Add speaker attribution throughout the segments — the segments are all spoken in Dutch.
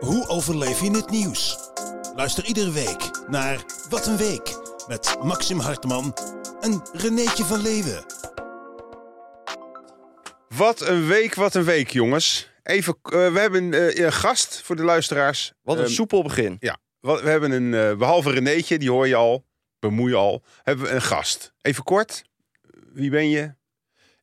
Speaker 1: Hoe overleef je in het nieuws? Luister iedere week naar Wat een Week met Maxim Hartman en Renéetje van Leeuwen.
Speaker 2: Wat een week, wat een week, jongens. Even, eh, we hebben eh, een gast voor de luisteraars.
Speaker 3: Wat een
Speaker 2: Ehm,
Speaker 3: soepel begin.
Speaker 2: Ja, wa- we hebben een, eh, behalve Renéetje, die hoor je al, bemoei je al, hebben we een gast. Even kort, wie ben je?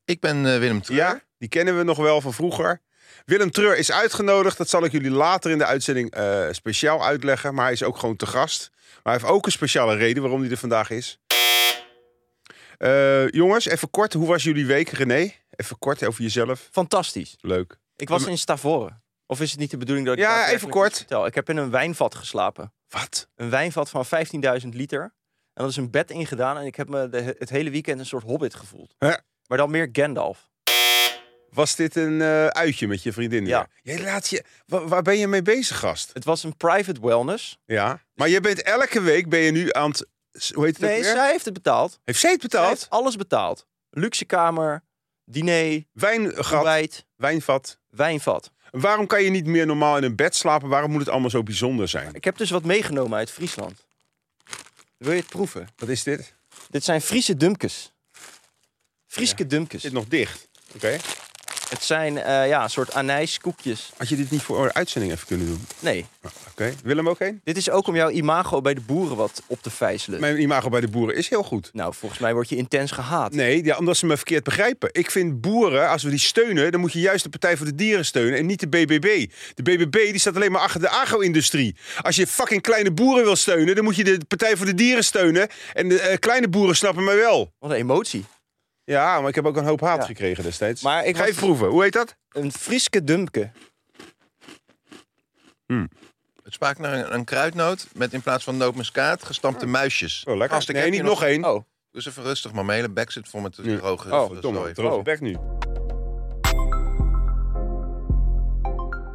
Speaker 4: Ik ben eh, Willem Treur.
Speaker 2: Ja, die kennen we nog wel van vroeger. Willem Treur is uitgenodigd, dat zal ik jullie later in de uitzending eh, speciaal uitleggen. Maar hij is ook gewoon te gast. Maar hij heeft ook een speciale reden waarom hij er vandaag is. Eh, jongens, even kort, hoe was jullie week, René? Even kort over jezelf.
Speaker 3: Fantastisch.
Speaker 2: Leuk.
Speaker 3: Ik was in Stavoren. Of is het niet de bedoeling dat ik
Speaker 2: Ja,
Speaker 3: dat
Speaker 2: even
Speaker 3: werkelijk
Speaker 2: kort.
Speaker 3: iets Vertel. Ik heb in een wijnvat geslapen.
Speaker 2: Wat?
Speaker 3: Een wijnvat van 15.000 liter. En dat is een bed ingedaan. En ik heb me de- het hele weekend een soort hobbit gevoeld.
Speaker 2: Ja.
Speaker 3: Maar dan meer Gandalf.
Speaker 2: Was dit een eh, uitje met je vriendin?
Speaker 3: Ja.
Speaker 2: weer? Jij laat je, wa- waar, ben je mee bezig, gast?
Speaker 3: Het was een private wellness.
Speaker 2: Ja. Maar je bent elke week ben je nu aan het. s- Hoe heet het? ook
Speaker 3: Nee,
Speaker 2: weer?
Speaker 3: zij heeft het betaald.
Speaker 2: Heeft zij het
Speaker 3: Zij
Speaker 2: betaald?
Speaker 3: heeft alles betaald. Luxe kamer, diner,
Speaker 2: Wijn, gehad,
Speaker 3: ontbijt,
Speaker 2: wijnvat.
Speaker 3: wijnvat.
Speaker 2: Waarom kan je niet meer normaal in een bed slapen? Waarom moet het allemaal zo bijzonder zijn?
Speaker 3: Ik heb dus wat meegenomen uit Friesland. Wil je het proeven?
Speaker 2: Wat is dit?
Speaker 3: Dit zijn Friese dumkes. Frieske dumkes.
Speaker 2: Zit nog dicht. Oké.
Speaker 3: Het zijn eh, ja, een soort anijskoekjes.
Speaker 2: Had je dit niet voor de uitzending even kunnen doen? Ah,
Speaker 3: Nee,
Speaker 2: Oké. Willem ook heen?
Speaker 3: dit is ook om jouw imago bij de boeren wat op te vijzelen.
Speaker 2: Mijn imago bij de boeren is heel goed.
Speaker 3: Nou, volgens mij word je intens gehaat.
Speaker 2: Nee, ja, omdat ze me verkeerd begrijpen. Ik vind boeren, als we die steunen, dan moet je juist de Partij voor de Dieren steunen en niet de BBB. De BBB die staat alleen maar achter de agro-industrie. Als je fucking kleine boeren wil steunen, dan moet je de Partij voor de Dieren steunen. En de eh, kleine boeren snappen mij wel.
Speaker 3: Wat een emotie.
Speaker 2: Ja, maar ik heb ook een hoop haat
Speaker 3: Ja.
Speaker 2: gekregen destijds.
Speaker 3: Maar ik
Speaker 2: Ga
Speaker 3: was-
Speaker 2: even proeven. Hoe heet dat?
Speaker 3: Een Frieske dumke.
Speaker 4: Het smaakt naar een, een kruidnoot met in plaats van nootmuskaat gestampte muisjes.
Speaker 2: Oh, lekker.
Speaker 4: Gast, ik
Speaker 2: nee,
Speaker 4: heb
Speaker 2: niet
Speaker 4: hier
Speaker 2: nog één.
Speaker 3: Oh,
Speaker 4: Dus even rustig, maar mijn hele bek zit vol met
Speaker 2: Nu.
Speaker 4: de droge
Speaker 2: Oh,
Speaker 4: zooi.
Speaker 2: verdomme. Droge bek nu.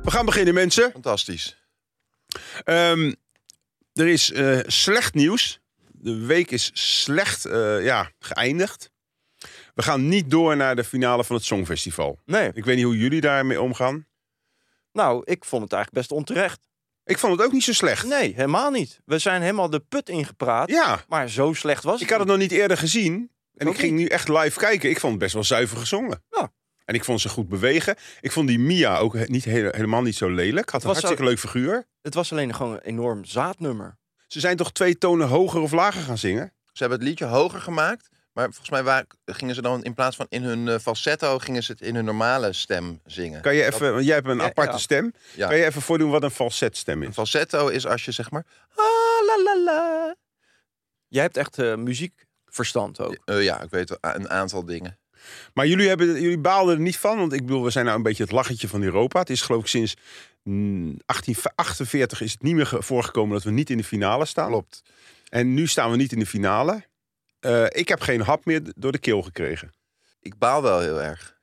Speaker 2: We gaan beginnen, mensen.
Speaker 4: Fantastisch.
Speaker 2: Ehm, er is eh, slecht nieuws. De week is slecht eh, ja, geëindigd. We gaan niet door naar de finale van het Songfestival.
Speaker 3: nee.
Speaker 2: Ik weet niet hoe jullie daarmee omgaan.
Speaker 3: Nou, ik vond het eigenlijk best onterecht.
Speaker 2: Ik vond het ook niet zo slecht.
Speaker 3: Nee, helemaal niet. We zijn helemaal de put ingepraat.
Speaker 2: Ja,
Speaker 3: Maar zo slecht was het.
Speaker 2: ik had het nog niet eerder gezien. En
Speaker 3: ook
Speaker 2: ik ging nu echt live kijken. Ik vond het best wel zuiver gezongen.
Speaker 3: Ja.
Speaker 2: En ik vond ze goed bewegen. Ik vond die Mia ook he- niet, hele- helemaal niet zo lelijk. Had een
Speaker 3: was
Speaker 2: hartstikke leuk figuur.
Speaker 3: Het was alleen gewoon een enorm zaadnummer.
Speaker 2: Ze zijn toch twee tonen hoger of lager gaan zingen?
Speaker 4: Ze hebben het liedje hoger gemaakt. Maar volgens mij wa- gingen ze dan in plaats van in hun eh, falsetto... gingen ze het in hun normale stem zingen.
Speaker 2: Kan je even, want jij hebt een
Speaker 3: Ja,
Speaker 2: aparte
Speaker 3: ja.
Speaker 2: stem.
Speaker 4: Ja.
Speaker 2: Kan je even voordoen wat een falsetstem
Speaker 4: Een
Speaker 2: is?
Speaker 4: falsetto is als je zeg maar...
Speaker 3: Ah, la la la. Jij hebt echt eh, muziekverstand ook.
Speaker 4: eh, ja, ik weet wel, a- een aantal dingen.
Speaker 2: Maar jullie, hebben, jullie baalden er niet van, want ik bedoel, we zijn nou een beetje het lachetje van Europa. Het is geloof ik sinds mm, 1848 is het niet meer ge- voorgekomen dat we niet in de finale staan.
Speaker 4: Klopt.
Speaker 2: En nu staan we niet in de finale. Eh, ik heb geen hap meer d- door de keel gekregen.
Speaker 4: Ik baal wel heel erg.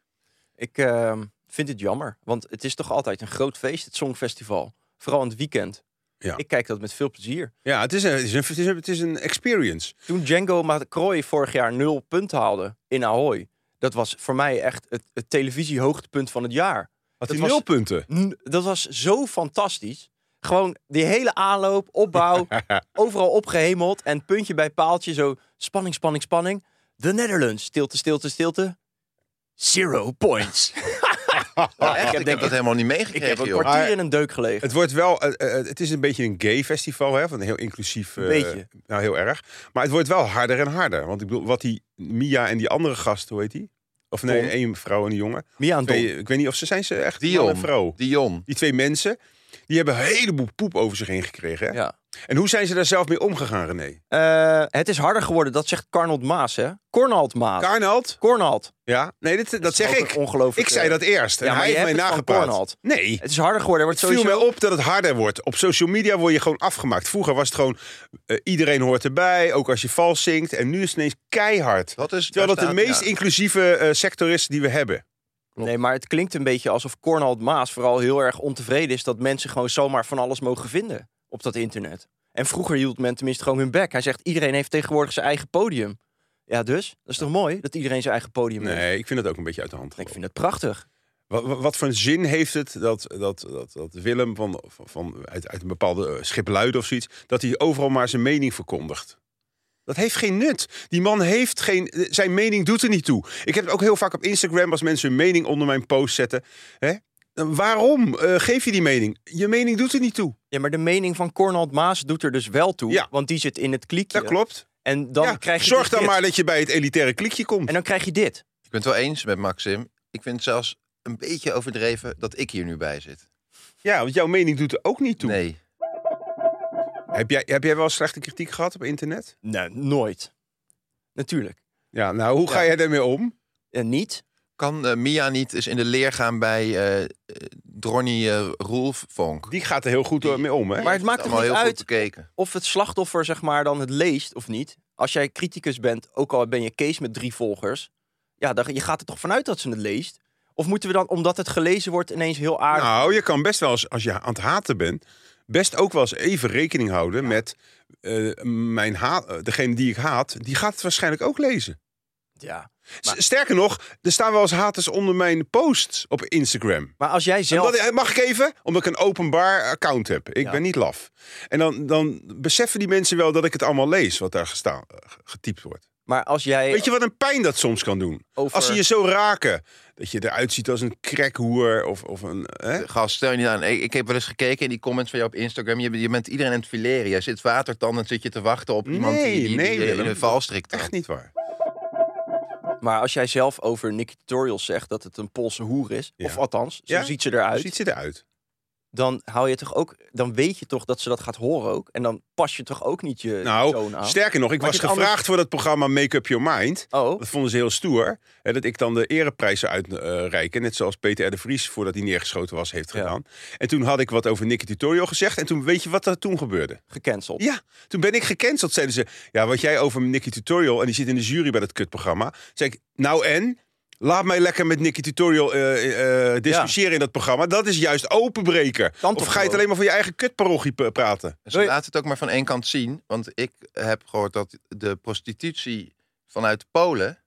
Speaker 3: Ik ehm, vind het jammer, want het is toch altijd een groot feest, het Songfestival. Vooral in het weekend.
Speaker 2: Ja.
Speaker 3: Ik kijk dat met veel plezier.
Speaker 2: Ja, het is een, het is een, het is een, het is een experience.
Speaker 3: Toen Django Macroy vorig jaar nul punten haalde in Ahoy... dat was voor mij echt het, het televisiehoogtepunt van het jaar.
Speaker 2: Had
Speaker 3: Dat
Speaker 2: hij
Speaker 3: was-
Speaker 2: nul punten?
Speaker 3: N- Dat was zo fantastisch. Gewoon die hele aanloop, opbouw, overal opgehemeld... en puntje bij paaltje, zo spanning, spanning, spanning. De Netherlands, stilte, stilte, stilte. Zero points.
Speaker 4: Ja, echt,
Speaker 3: ik heb
Speaker 4: ik
Speaker 3: denk
Speaker 4: heb
Speaker 3: ik-
Speaker 4: dat helemaal niet
Speaker 3: Ik heb
Speaker 4: meegekregen,
Speaker 3: een
Speaker 4: joh.
Speaker 3: kwartier in een deuk gelegen.
Speaker 2: Het wordt wel, eh, eh, het is een beetje een gay festival, hè, van heel inclusief. eh,
Speaker 3: Beetje.
Speaker 2: Nou, heel erg. Maar het wordt wel harder en harder. Want ik bedoel, wat die Mia en die andere gast, hoe heet die? Of nee,
Speaker 3: Tom.
Speaker 2: één vrouw en een jongen.
Speaker 3: Mia en Don.
Speaker 2: Twee- ik weet niet of ze zijn ze echt man en
Speaker 4: Dion.
Speaker 2: vrouw.
Speaker 4: Dion.
Speaker 2: Die twee mensen, die hebben een heleboel poep over zich heen gekregen. hè?
Speaker 3: Ja.
Speaker 2: En hoe zijn ze daar zelf mee omgegaan, René?
Speaker 3: Eh, het is harder geworden, dat zegt Carnold Maas, hè? Cornald Maas.
Speaker 2: Carnald?
Speaker 3: Cornald.
Speaker 2: Ja? Nee, dit, dat, zeg
Speaker 3: ook
Speaker 2: ik.
Speaker 3: een ongelooflijk,
Speaker 2: Ik zei dat eerst. En
Speaker 3: ja, maar
Speaker 2: hij
Speaker 3: je
Speaker 2: heeft mij
Speaker 3: hebt het van
Speaker 2: nagepraat.
Speaker 3: Cornald.
Speaker 2: Nee.
Speaker 3: Het is harder geworden. Het
Speaker 2: Het
Speaker 3: wordt
Speaker 2: viel mij
Speaker 3: sowieso...
Speaker 2: op dat het harder wordt. Op social media word je gewoon afgemaakt. Vroeger was het gewoon eh, iedereen hoort erbij, ook als je vals zingt. En nu is het ineens keihard.
Speaker 4: Dat is, nou?
Speaker 2: Terwijl dat
Speaker 4: daar
Speaker 2: de
Speaker 4: staat-
Speaker 2: meest
Speaker 4: ja.
Speaker 2: inclusieve eh, sector is die we hebben.
Speaker 3: Nee, maar het klinkt een beetje alsof Cornald Maas vooral heel erg ontevreden is... dat mensen gewoon zomaar van alles mogen vinden op dat internet. En vroeger hield men tenminste gewoon hun bek. Hij zegt, iedereen heeft tegenwoordig zijn eigen podium. Ja, dus? Dat is toch mooi, dat iedereen zijn eigen podium heeft?
Speaker 2: Nee, ik vind dat ook een beetje uit de hand.
Speaker 3: Ik
Speaker 2: gelopen.
Speaker 3: vind het prachtig.
Speaker 2: Wat, wat- wat voor een zin heeft het dat, dat, dat, dat Willem van, van, van- uit, uit een bepaalde eh, schipluiden of zoiets, dat hij overal maar zijn mening verkondigt? Dat heeft geen nut. Die man heeft geen. eh, Zijn mening doet er niet toe. Ik heb het ook heel vaak op Instagram als mensen hun mening onder mijn post zetten. Hè? Dan Waarom eh, geef je die mening? Je mening doet er niet toe.
Speaker 3: Ja, maar de mening van Cornald Maas doet er dus wel toe.
Speaker 2: Ja.
Speaker 3: Want die zit in het kliekje.
Speaker 2: Dat klopt.
Speaker 3: En dan
Speaker 2: Ja,
Speaker 3: krijg je
Speaker 2: Zorg
Speaker 3: dus
Speaker 2: dan
Speaker 3: dit.
Speaker 2: maar dat je bij het elitaire klikje komt.
Speaker 3: En dan krijg je dit.
Speaker 4: Ik ben het wel eens met Maxim. Ik vind het zelfs een beetje overdreven dat ik hier nu bij zit.
Speaker 2: Ja, want jouw mening doet er ook niet toe.
Speaker 4: Nee.
Speaker 2: Heb, jij, heb jij wel slechte kritiek gehad op internet?
Speaker 3: Nee, nooit. Natuurlijk.
Speaker 2: Ja, nou, hoe ga
Speaker 3: Ja.
Speaker 2: jij daarmee om?
Speaker 3: En niet.
Speaker 4: Kan eh, Mia niet eens in de leer gaan bij eh eh, Dronnie eh, Roelfvonk?
Speaker 2: Die gaat er heel goed mee om, hè?
Speaker 3: Maar het maakt toch
Speaker 4: Allemaal
Speaker 3: niet
Speaker 4: heel goed
Speaker 3: uit
Speaker 4: bekeken.
Speaker 3: of het slachtoffer zeg maar dan het leest of niet. Als jij criticus bent, ook al ben je Kees met drie volgers. Ja, dan, je gaat er toch vanuit dat ze het leest? Of moeten we dan, omdat het gelezen wordt, ineens heel aardig...
Speaker 2: Nou, je kan best wel eens, als je aan het haten bent, best ook wel eens even rekening houden met eh, mijn haat, eh, degene die ik haat, die gaat het waarschijnlijk ook lezen.
Speaker 3: Ja.
Speaker 2: S- Sterker nog, er staan wel eens haters onder mijn posts op Instagram.
Speaker 3: Maar als jij zelf...
Speaker 2: Omdat- eh, mag ik even? Omdat ik een openbaar account heb. Ik
Speaker 3: Ja.
Speaker 2: ben niet laf. En dan, dan beseffen die mensen wel dat ik het allemaal lees, wat daar gestaan, eh, ge- getypt wordt.
Speaker 3: Maar als jij
Speaker 2: Weet je wat een pijn dat soms kan doen?
Speaker 3: over...
Speaker 2: Als ze je zo raken, dat je eruit ziet als een krekhoer of, of een... Hè?
Speaker 4: Gast, stel je niet aan. Ik, ik heb wel eens gekeken in die comments van jou op Instagram. Je, bent- je bent iedereen aan het fileren. Jij zit watertandend, zit je te wachten op iemand die,
Speaker 2: Nee,
Speaker 4: die, die,
Speaker 2: nee,
Speaker 4: eh, in
Speaker 2: Willem.
Speaker 4: een valstrik trapt.
Speaker 2: Echt niet waar.
Speaker 3: Maar als jij zelf over Nicky Tutorials zegt dat het een Poolse hoer is...
Speaker 2: Ja.
Speaker 3: Of althans, zo
Speaker 2: Ja.
Speaker 3: ziet ze eruit.
Speaker 2: Hoe ziet ze eruit?
Speaker 3: dan hou je toch ook, dan weet je toch dat ze dat gaat horen ook. En dan pas je toch ook niet je
Speaker 2: Nou,
Speaker 3: toon aan.
Speaker 2: sterker nog, ik
Speaker 3: eh, Maar dus
Speaker 2: was
Speaker 3: is het
Speaker 2: gevraagd voor dat programma Make Up Your Mind.
Speaker 3: oh,
Speaker 2: Dat vonden ze heel stoer. Hè, dat ik dan de ereprijzen uitreiken. Net zoals Peter R. de Vries, voordat hij neergeschoten was, heeft
Speaker 3: Ja.
Speaker 2: gedaan. En toen had ik wat over Nicky Tutorial gezegd. En toen weet je wat er toen gebeurde?
Speaker 3: gecanceld.
Speaker 2: Ja, toen ben ik gecanceld. Zeiden ze, ja, wat jij over Nicky Tutorial... en die zit in de jury bij dat kutprogramma. Zeg ik, nou en? Laat mij lekker met Nicky Tutorial eh, eh, discussiëren in dat programma. Dat is juist openbreken.
Speaker 3: Kan
Speaker 2: of
Speaker 3: toch
Speaker 2: ga je het
Speaker 3: gewoon?
Speaker 2: alleen maar voor je eigen kutparochie p- praten?
Speaker 4: Ze laten het ook maar van één kant zien. Want ik heb gehoord dat de prostitutie vanuit Polen...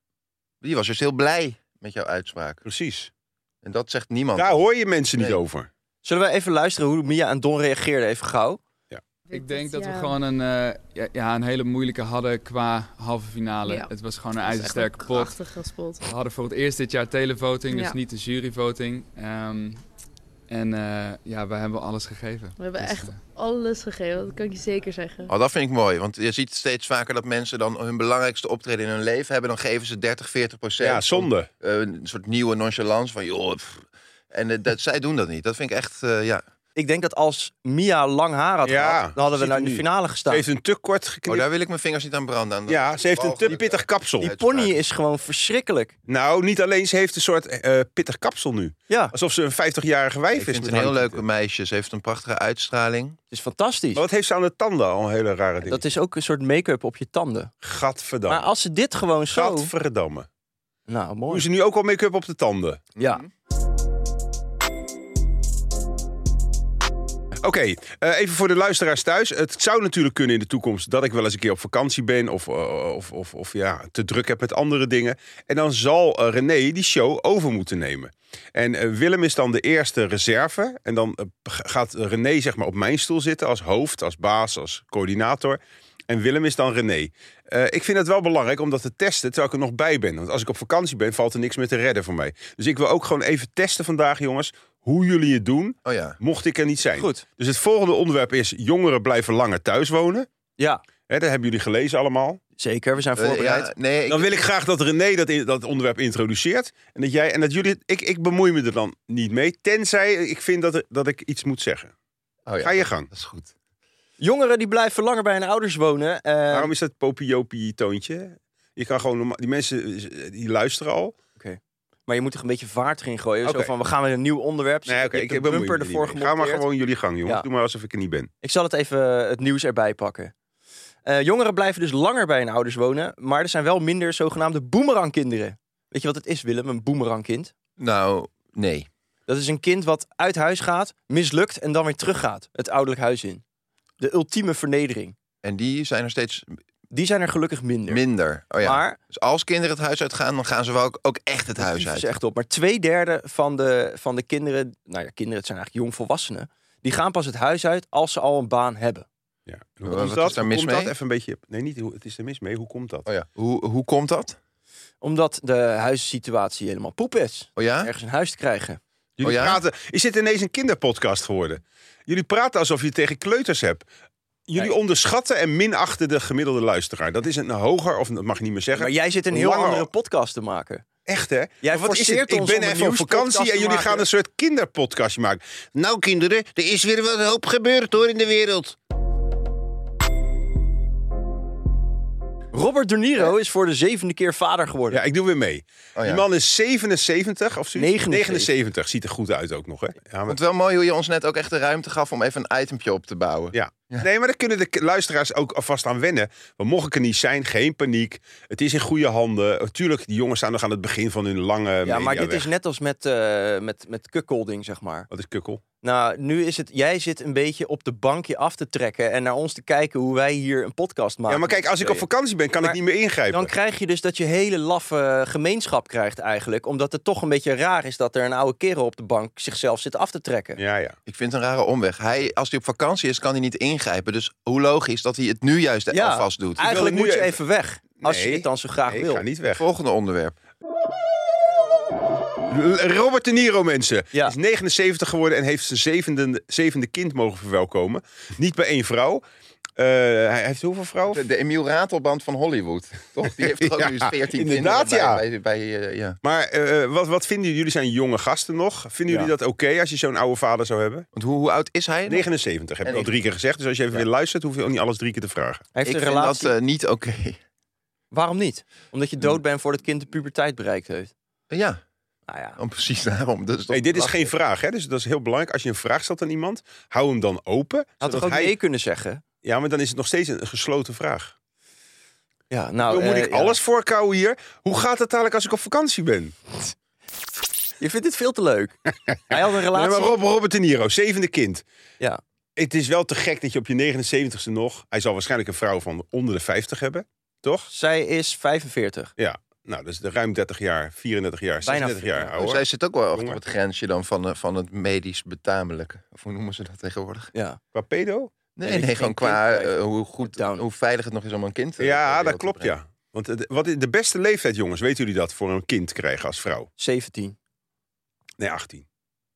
Speaker 4: die was dus heel blij met jouw uitspraak.
Speaker 2: Precies.
Speaker 4: En dat zegt niemand.
Speaker 2: Daar hoor je mensen niet
Speaker 4: Nee.
Speaker 2: over.
Speaker 3: Zullen we even luisteren hoe Mia en Don reageerden, even gauw?
Speaker 5: Ik denk dat we
Speaker 6: Ja.
Speaker 5: gewoon een, eh, ja, ja, een hele moeilijke hadden qua halve finale.
Speaker 6: Ja.
Speaker 5: Het was gewoon een
Speaker 6: Dat is echt een
Speaker 5: ijzersterke pot.
Speaker 6: Prachtige spot.
Speaker 5: We hadden voor het eerst dit jaar televoting, dus
Speaker 6: Ja.
Speaker 5: niet de juryvoting. Ehm, en eh, ja, we hebben alles gegeven.
Speaker 6: We hebben
Speaker 5: Dus,
Speaker 6: echt
Speaker 5: eh,
Speaker 6: alles gegeven, dat kan ik je zeker zeggen.
Speaker 4: Oh, dat vind ik mooi, want je ziet steeds vaker dat mensen dan hun belangrijkste optreden in hun leven hebben. Dan geven ze 30, 40 procent. eh,
Speaker 2: Ja, zonde.
Speaker 4: een soort nieuwe nonchalance van, joh. pff. En eh, dat, zij doen dat niet. Dat vind ik echt, eh, ja.
Speaker 3: Ik denk dat als Mia lang haar had
Speaker 2: Ja,
Speaker 3: gehad, dan hadden we
Speaker 2: ziet
Speaker 3: nou in
Speaker 2: er
Speaker 3: de
Speaker 2: nu.
Speaker 3: finale gestaan.
Speaker 2: Ze heeft een te kort
Speaker 4: Oh,
Speaker 2: geknipt.
Speaker 4: daar wil ik mijn vingers niet aan branden. Aan dat-
Speaker 2: ja, ze heeft een te
Speaker 4: walgelijke-
Speaker 2: pittig kapsel.
Speaker 3: Die pony is gewoon verschrikkelijk.
Speaker 2: Nou, niet alleen, ze heeft een soort eh, pittig kapsel nu.
Speaker 3: Ja, het
Speaker 2: Alsof ze een 50-jarige wijf
Speaker 4: Ik
Speaker 2: is. nou
Speaker 4: vind het
Speaker 2: met
Speaker 4: een heel
Speaker 2: haar
Speaker 4: leuke
Speaker 2: tieten.
Speaker 4: meisje. Ze heeft een prachtige uitstraling.
Speaker 3: is fantastisch.
Speaker 2: Maar wat heeft ze aan de tanden al een hele rare ding?
Speaker 3: Dat is ook een soort make-up op je tanden.
Speaker 2: Gadverdamme.
Speaker 3: Maar als ze dit gewoon zo...
Speaker 2: Gadverdamme.
Speaker 3: Nou,
Speaker 2: Doen
Speaker 3: mooi.
Speaker 2: ze nu ook al make-up op de tanden?
Speaker 3: Ja,
Speaker 2: Oké, eh, even voor de luisteraars thuis. Het zou natuurlijk kunnen in de toekomst dat ik wel eens een keer op vakantie ben. Of, eh, of, of, of ja, te druk heb met andere dingen. En dan zal eh, René die show over moeten nemen. En eh, Willem is dan de eerste reserve. En dan eh, g- gaat René zeg maar op mijn stoel zitten als hoofd, als baas, als coördinator. En Willem is dan René. Eh, ik vind het wel belangrijk om dat te testen terwijl ik er nog bij ben. Want als ik op vakantie ben, valt er niks meer te redden voor mij. Dus ik wil ook gewoon even testen vandaag, jongens, hoe jullie het doen
Speaker 4: Oh ja.
Speaker 2: mocht ik er niet zijn.
Speaker 3: goed.
Speaker 2: Dus het volgende onderwerp is: jongeren blijven langer thuis wonen.
Speaker 3: Ja,
Speaker 2: Hè, dat hebben jullie gelezen allemaal.
Speaker 3: zeker. We zijn
Speaker 4: Eh,
Speaker 3: voorbereid.
Speaker 4: ja, nee, ik,
Speaker 2: Dan wil ik graag dat René dat, in- dat onderwerp introduceert. En dat jij en dat jullie. Ik, ik bemoei me er dan niet mee. Tenzij ik vind dat, er- dat ik iets moet zeggen.
Speaker 4: oh ja.
Speaker 2: Ga je gang.
Speaker 4: Dat is goed.
Speaker 3: Jongeren die blijven langer bij hun ouders wonen. eh,
Speaker 4: Ehm,
Speaker 2: Waarom is dat popiopie toontje? Je kan gewoon norma- die mensen eh, die luisteren al.
Speaker 3: Maar je moet er een beetje vaart in gooien. Zo
Speaker 2: Oké.
Speaker 3: van, we gaan weer een nieuw onderwerp.
Speaker 2: Nee, oké,
Speaker 3: ik
Speaker 2: ik
Speaker 3: heb een
Speaker 2: bemoei
Speaker 3: bumper
Speaker 2: me er
Speaker 3: ervoor
Speaker 2: niet mee. Ga maar
Speaker 3: gemonteerd.
Speaker 2: gewoon jullie gang, jongens.
Speaker 3: Ja.
Speaker 2: Doe maar alsof ik er niet ben.
Speaker 3: Ik zal het even eh, het nieuws erbij pakken. Eh, jongeren blijven dus langer bij hun ouders wonen. Maar er zijn wel minder zogenaamde boemerangkinderen. Weet je wat het is, Willem? Een boemerangkind.
Speaker 4: Nou, nee.
Speaker 3: Dat is een kind wat uit huis gaat, mislukt en dan weer teruggaat. Het ouderlijk huis in. De ultieme vernedering.
Speaker 4: En die zijn er steeds
Speaker 3: Die zijn er gelukkig minder.
Speaker 4: Minder. Oh ja.
Speaker 3: Maar
Speaker 4: Dus als kinderen het huis uitgaan, dan gaan ze wel ook, ook echt het huis
Speaker 3: is
Speaker 4: uit.
Speaker 3: echt op. Maar twee derde van de, van de kinderen, nou ja, kinderen, het zijn eigenlijk jongvolwassenen, die gaan pas het huis uit als ze al een baan hebben.
Speaker 2: Ja. En
Speaker 4: Wat
Speaker 2: Hoe
Speaker 4: is
Speaker 2: komt dat?
Speaker 4: daar
Speaker 2: Hoe
Speaker 4: mis
Speaker 2: komt
Speaker 4: mee?
Speaker 2: dat? Even een beetje... Nee, niet hoe, het is er mis mee. Hoe komt dat?
Speaker 4: Oh ja. Hoe, hoe komt dat?
Speaker 3: Omdat de huissituatie helemaal poep is.
Speaker 4: Oh ja?
Speaker 3: Ergens een huis te krijgen.
Speaker 2: Jullie
Speaker 4: Oh ja?
Speaker 2: praten... Is dit ineens een kinderpodcast geworden? Jullie praten alsof je tegen kleuters hebt. Jullie
Speaker 3: Nee.
Speaker 2: onderschatten en minachten de gemiddelde luisteraar. Dat is een hoger, of dat mag je niet meer zeggen.
Speaker 3: Maar jij zit een heel
Speaker 2: Langer.
Speaker 3: andere podcast te maken.
Speaker 2: Echt, hè?
Speaker 3: Jij
Speaker 2: Maar wat is
Speaker 3: forceert
Speaker 2: dit? Ik
Speaker 3: ons
Speaker 2: ben
Speaker 3: om een
Speaker 2: even op
Speaker 3: nieuwspodcast
Speaker 2: vakantie en
Speaker 3: te
Speaker 2: jullie
Speaker 3: maken.
Speaker 2: gaan een soort kinderpodcastje maken. Nou, kinderen, er is weer wat hoop gebeurd hoor in de wereld.
Speaker 3: Robert De Niro is voor de zevende keer vader geworden.
Speaker 2: Eh. Ja, ik doe weer mee.
Speaker 4: Oh ja.
Speaker 2: Die man is 77 of zoiets?
Speaker 3: 79.
Speaker 2: 79. Ziet er goed uit ook nog, hè? Ja, maar...
Speaker 4: Want wel mooi hoe je ons net ook echt de ruimte gaf om even een itempje op te bouwen.
Speaker 2: Ja. Nee, maar daar kunnen de k- luisteraars ook alvast aan wennen. Want mocht ik er niet zijn, geen paniek. Het is in goede handen. Natuurlijk, die jongens staan nog aan het begin van hun lange
Speaker 3: Ja, maar dit is net als met, eh met, met cuckolding, zeg maar.
Speaker 2: Wat is kukkel?
Speaker 3: Nou, nu is het... Jij zit een beetje op de bankje af te trekken... en naar ons te kijken hoe wij hier een podcast maken.
Speaker 2: Ja, maar kijk, als ik op vakantie ben, kan
Speaker 3: Ah, Maar
Speaker 2: ik niet meer ingrijpen.
Speaker 3: Dan krijg je dus dat je hele laffe gemeenschap krijgt eigenlijk. Omdat het toch een beetje raar is dat er een oude kerel op de bank zichzelf zit af te trekken.
Speaker 2: Ja, ja.
Speaker 4: Ik vind het een rare omweg. Hij, als hij op vakantie is, kan hij niet ingrijpen. Dus hoe logisch dat hij het nu juist
Speaker 3: Ja.
Speaker 4: alvast doet.
Speaker 3: Eigenlijk
Speaker 2: wil
Speaker 3: moet
Speaker 2: het
Speaker 3: je
Speaker 2: nu
Speaker 3: even weg. Als je
Speaker 2: Nee.
Speaker 3: dit dan zo graag
Speaker 2: Nee, ik
Speaker 3: wil.
Speaker 2: ga niet weg.
Speaker 4: Volgende onderwerp.
Speaker 2: L- Robert De Niro, mensen.
Speaker 3: Ja.
Speaker 2: Is 79 geworden en heeft zijn zevende, zevende kind mogen verwelkomen. Niet bij één vrouw. Eh, hij heeft hoeveel vrouwen?
Speaker 4: De, de Emiel Ratelband van Hollywood. Toch? Die heeft er ook
Speaker 2: Ja,
Speaker 4: nu eens 14
Speaker 2: inderdaad,
Speaker 4: kinderen bij,
Speaker 2: ja.
Speaker 4: bij, bij, eh, ja.
Speaker 2: Maar eh, wat, wat vinden jullie? Jullie zijn jonge gasten nog. Vinden jullie
Speaker 3: Ja.
Speaker 2: dat oké als je zo'n oude vader zou hebben?
Speaker 4: Want hoe, hoe oud is hij? nog?
Speaker 2: 79 heb ik
Speaker 4: En
Speaker 2: al
Speaker 4: ik-
Speaker 2: drie keer gezegd. Dus als je even weer luistert, hoef je ook niet alles drie keer te vragen.
Speaker 3: Hij
Speaker 4: Ik
Speaker 3: heeft
Speaker 4: vind
Speaker 3: een relatie.
Speaker 4: dat eh, niet oké.
Speaker 3: Waarom niet? Omdat je
Speaker 2: hm.
Speaker 3: dood bent voordat het kind de puberteit bereikt heeft.
Speaker 4: Ja,
Speaker 3: Nou ja.
Speaker 2: Oh,
Speaker 4: dan precies daarom. Dus
Speaker 2: Hey, dit is geen vraag, hè? dus dat is heel belangrijk. Als je een vraag stelt aan iemand, hou hem dan open.
Speaker 3: Had toch
Speaker 2: zodat
Speaker 3: ook
Speaker 2: hij...
Speaker 3: nee kunnen zeggen?
Speaker 2: Ja, maar dan is het nog steeds een gesloten vraag.
Speaker 3: Ja, nou,
Speaker 2: Hoe moet
Speaker 3: eh,
Speaker 2: ik
Speaker 3: ja.
Speaker 2: alles voorkouwen hier? Hoe gaat het dadelijk als ik op vakantie ben?
Speaker 3: Je vindt dit veel te leuk. Hij had een
Speaker 2: Nee,
Speaker 3: relatie.
Speaker 2: maar Rob, Robert De Niro, zevende kind.
Speaker 3: Ja.
Speaker 2: Het is wel te gek dat je op je 79ste nog... Hij zal waarschijnlijk een vrouw van onder de 50 hebben, toch?
Speaker 3: Zij is 45.
Speaker 2: Ja, nou, dus de ruim 30 jaar, 34 jaar,
Speaker 3: Bijna
Speaker 2: 36 jaar
Speaker 3: ja. Oh,
Speaker 2: ouder.
Speaker 4: Zij Dus zit ook wel echt op
Speaker 2: Jongen.
Speaker 4: het grensje dan van, eh, van het medisch betamelijke. Of hoe noemen ze dat tegenwoordig?
Speaker 3: Ja.
Speaker 2: Qua pedo?
Speaker 4: Nee,
Speaker 3: Nee,
Speaker 4: nee,
Speaker 3: geen
Speaker 4: gewoon
Speaker 3: kind
Speaker 4: qua
Speaker 3: krijgen.
Speaker 4: eh, hoe, goed,
Speaker 3: Down.
Speaker 4: hoe veilig het nog is om een kind te eh, ter
Speaker 2: Ja,
Speaker 4: wereld
Speaker 2: dat
Speaker 4: te
Speaker 2: klopt,
Speaker 4: brengen.
Speaker 2: ja. Want het- wat is de beste leeftijd, jongens, weten jullie dat, voor een kind krijgen als vrouw?
Speaker 3: 17.
Speaker 2: Nee, 18.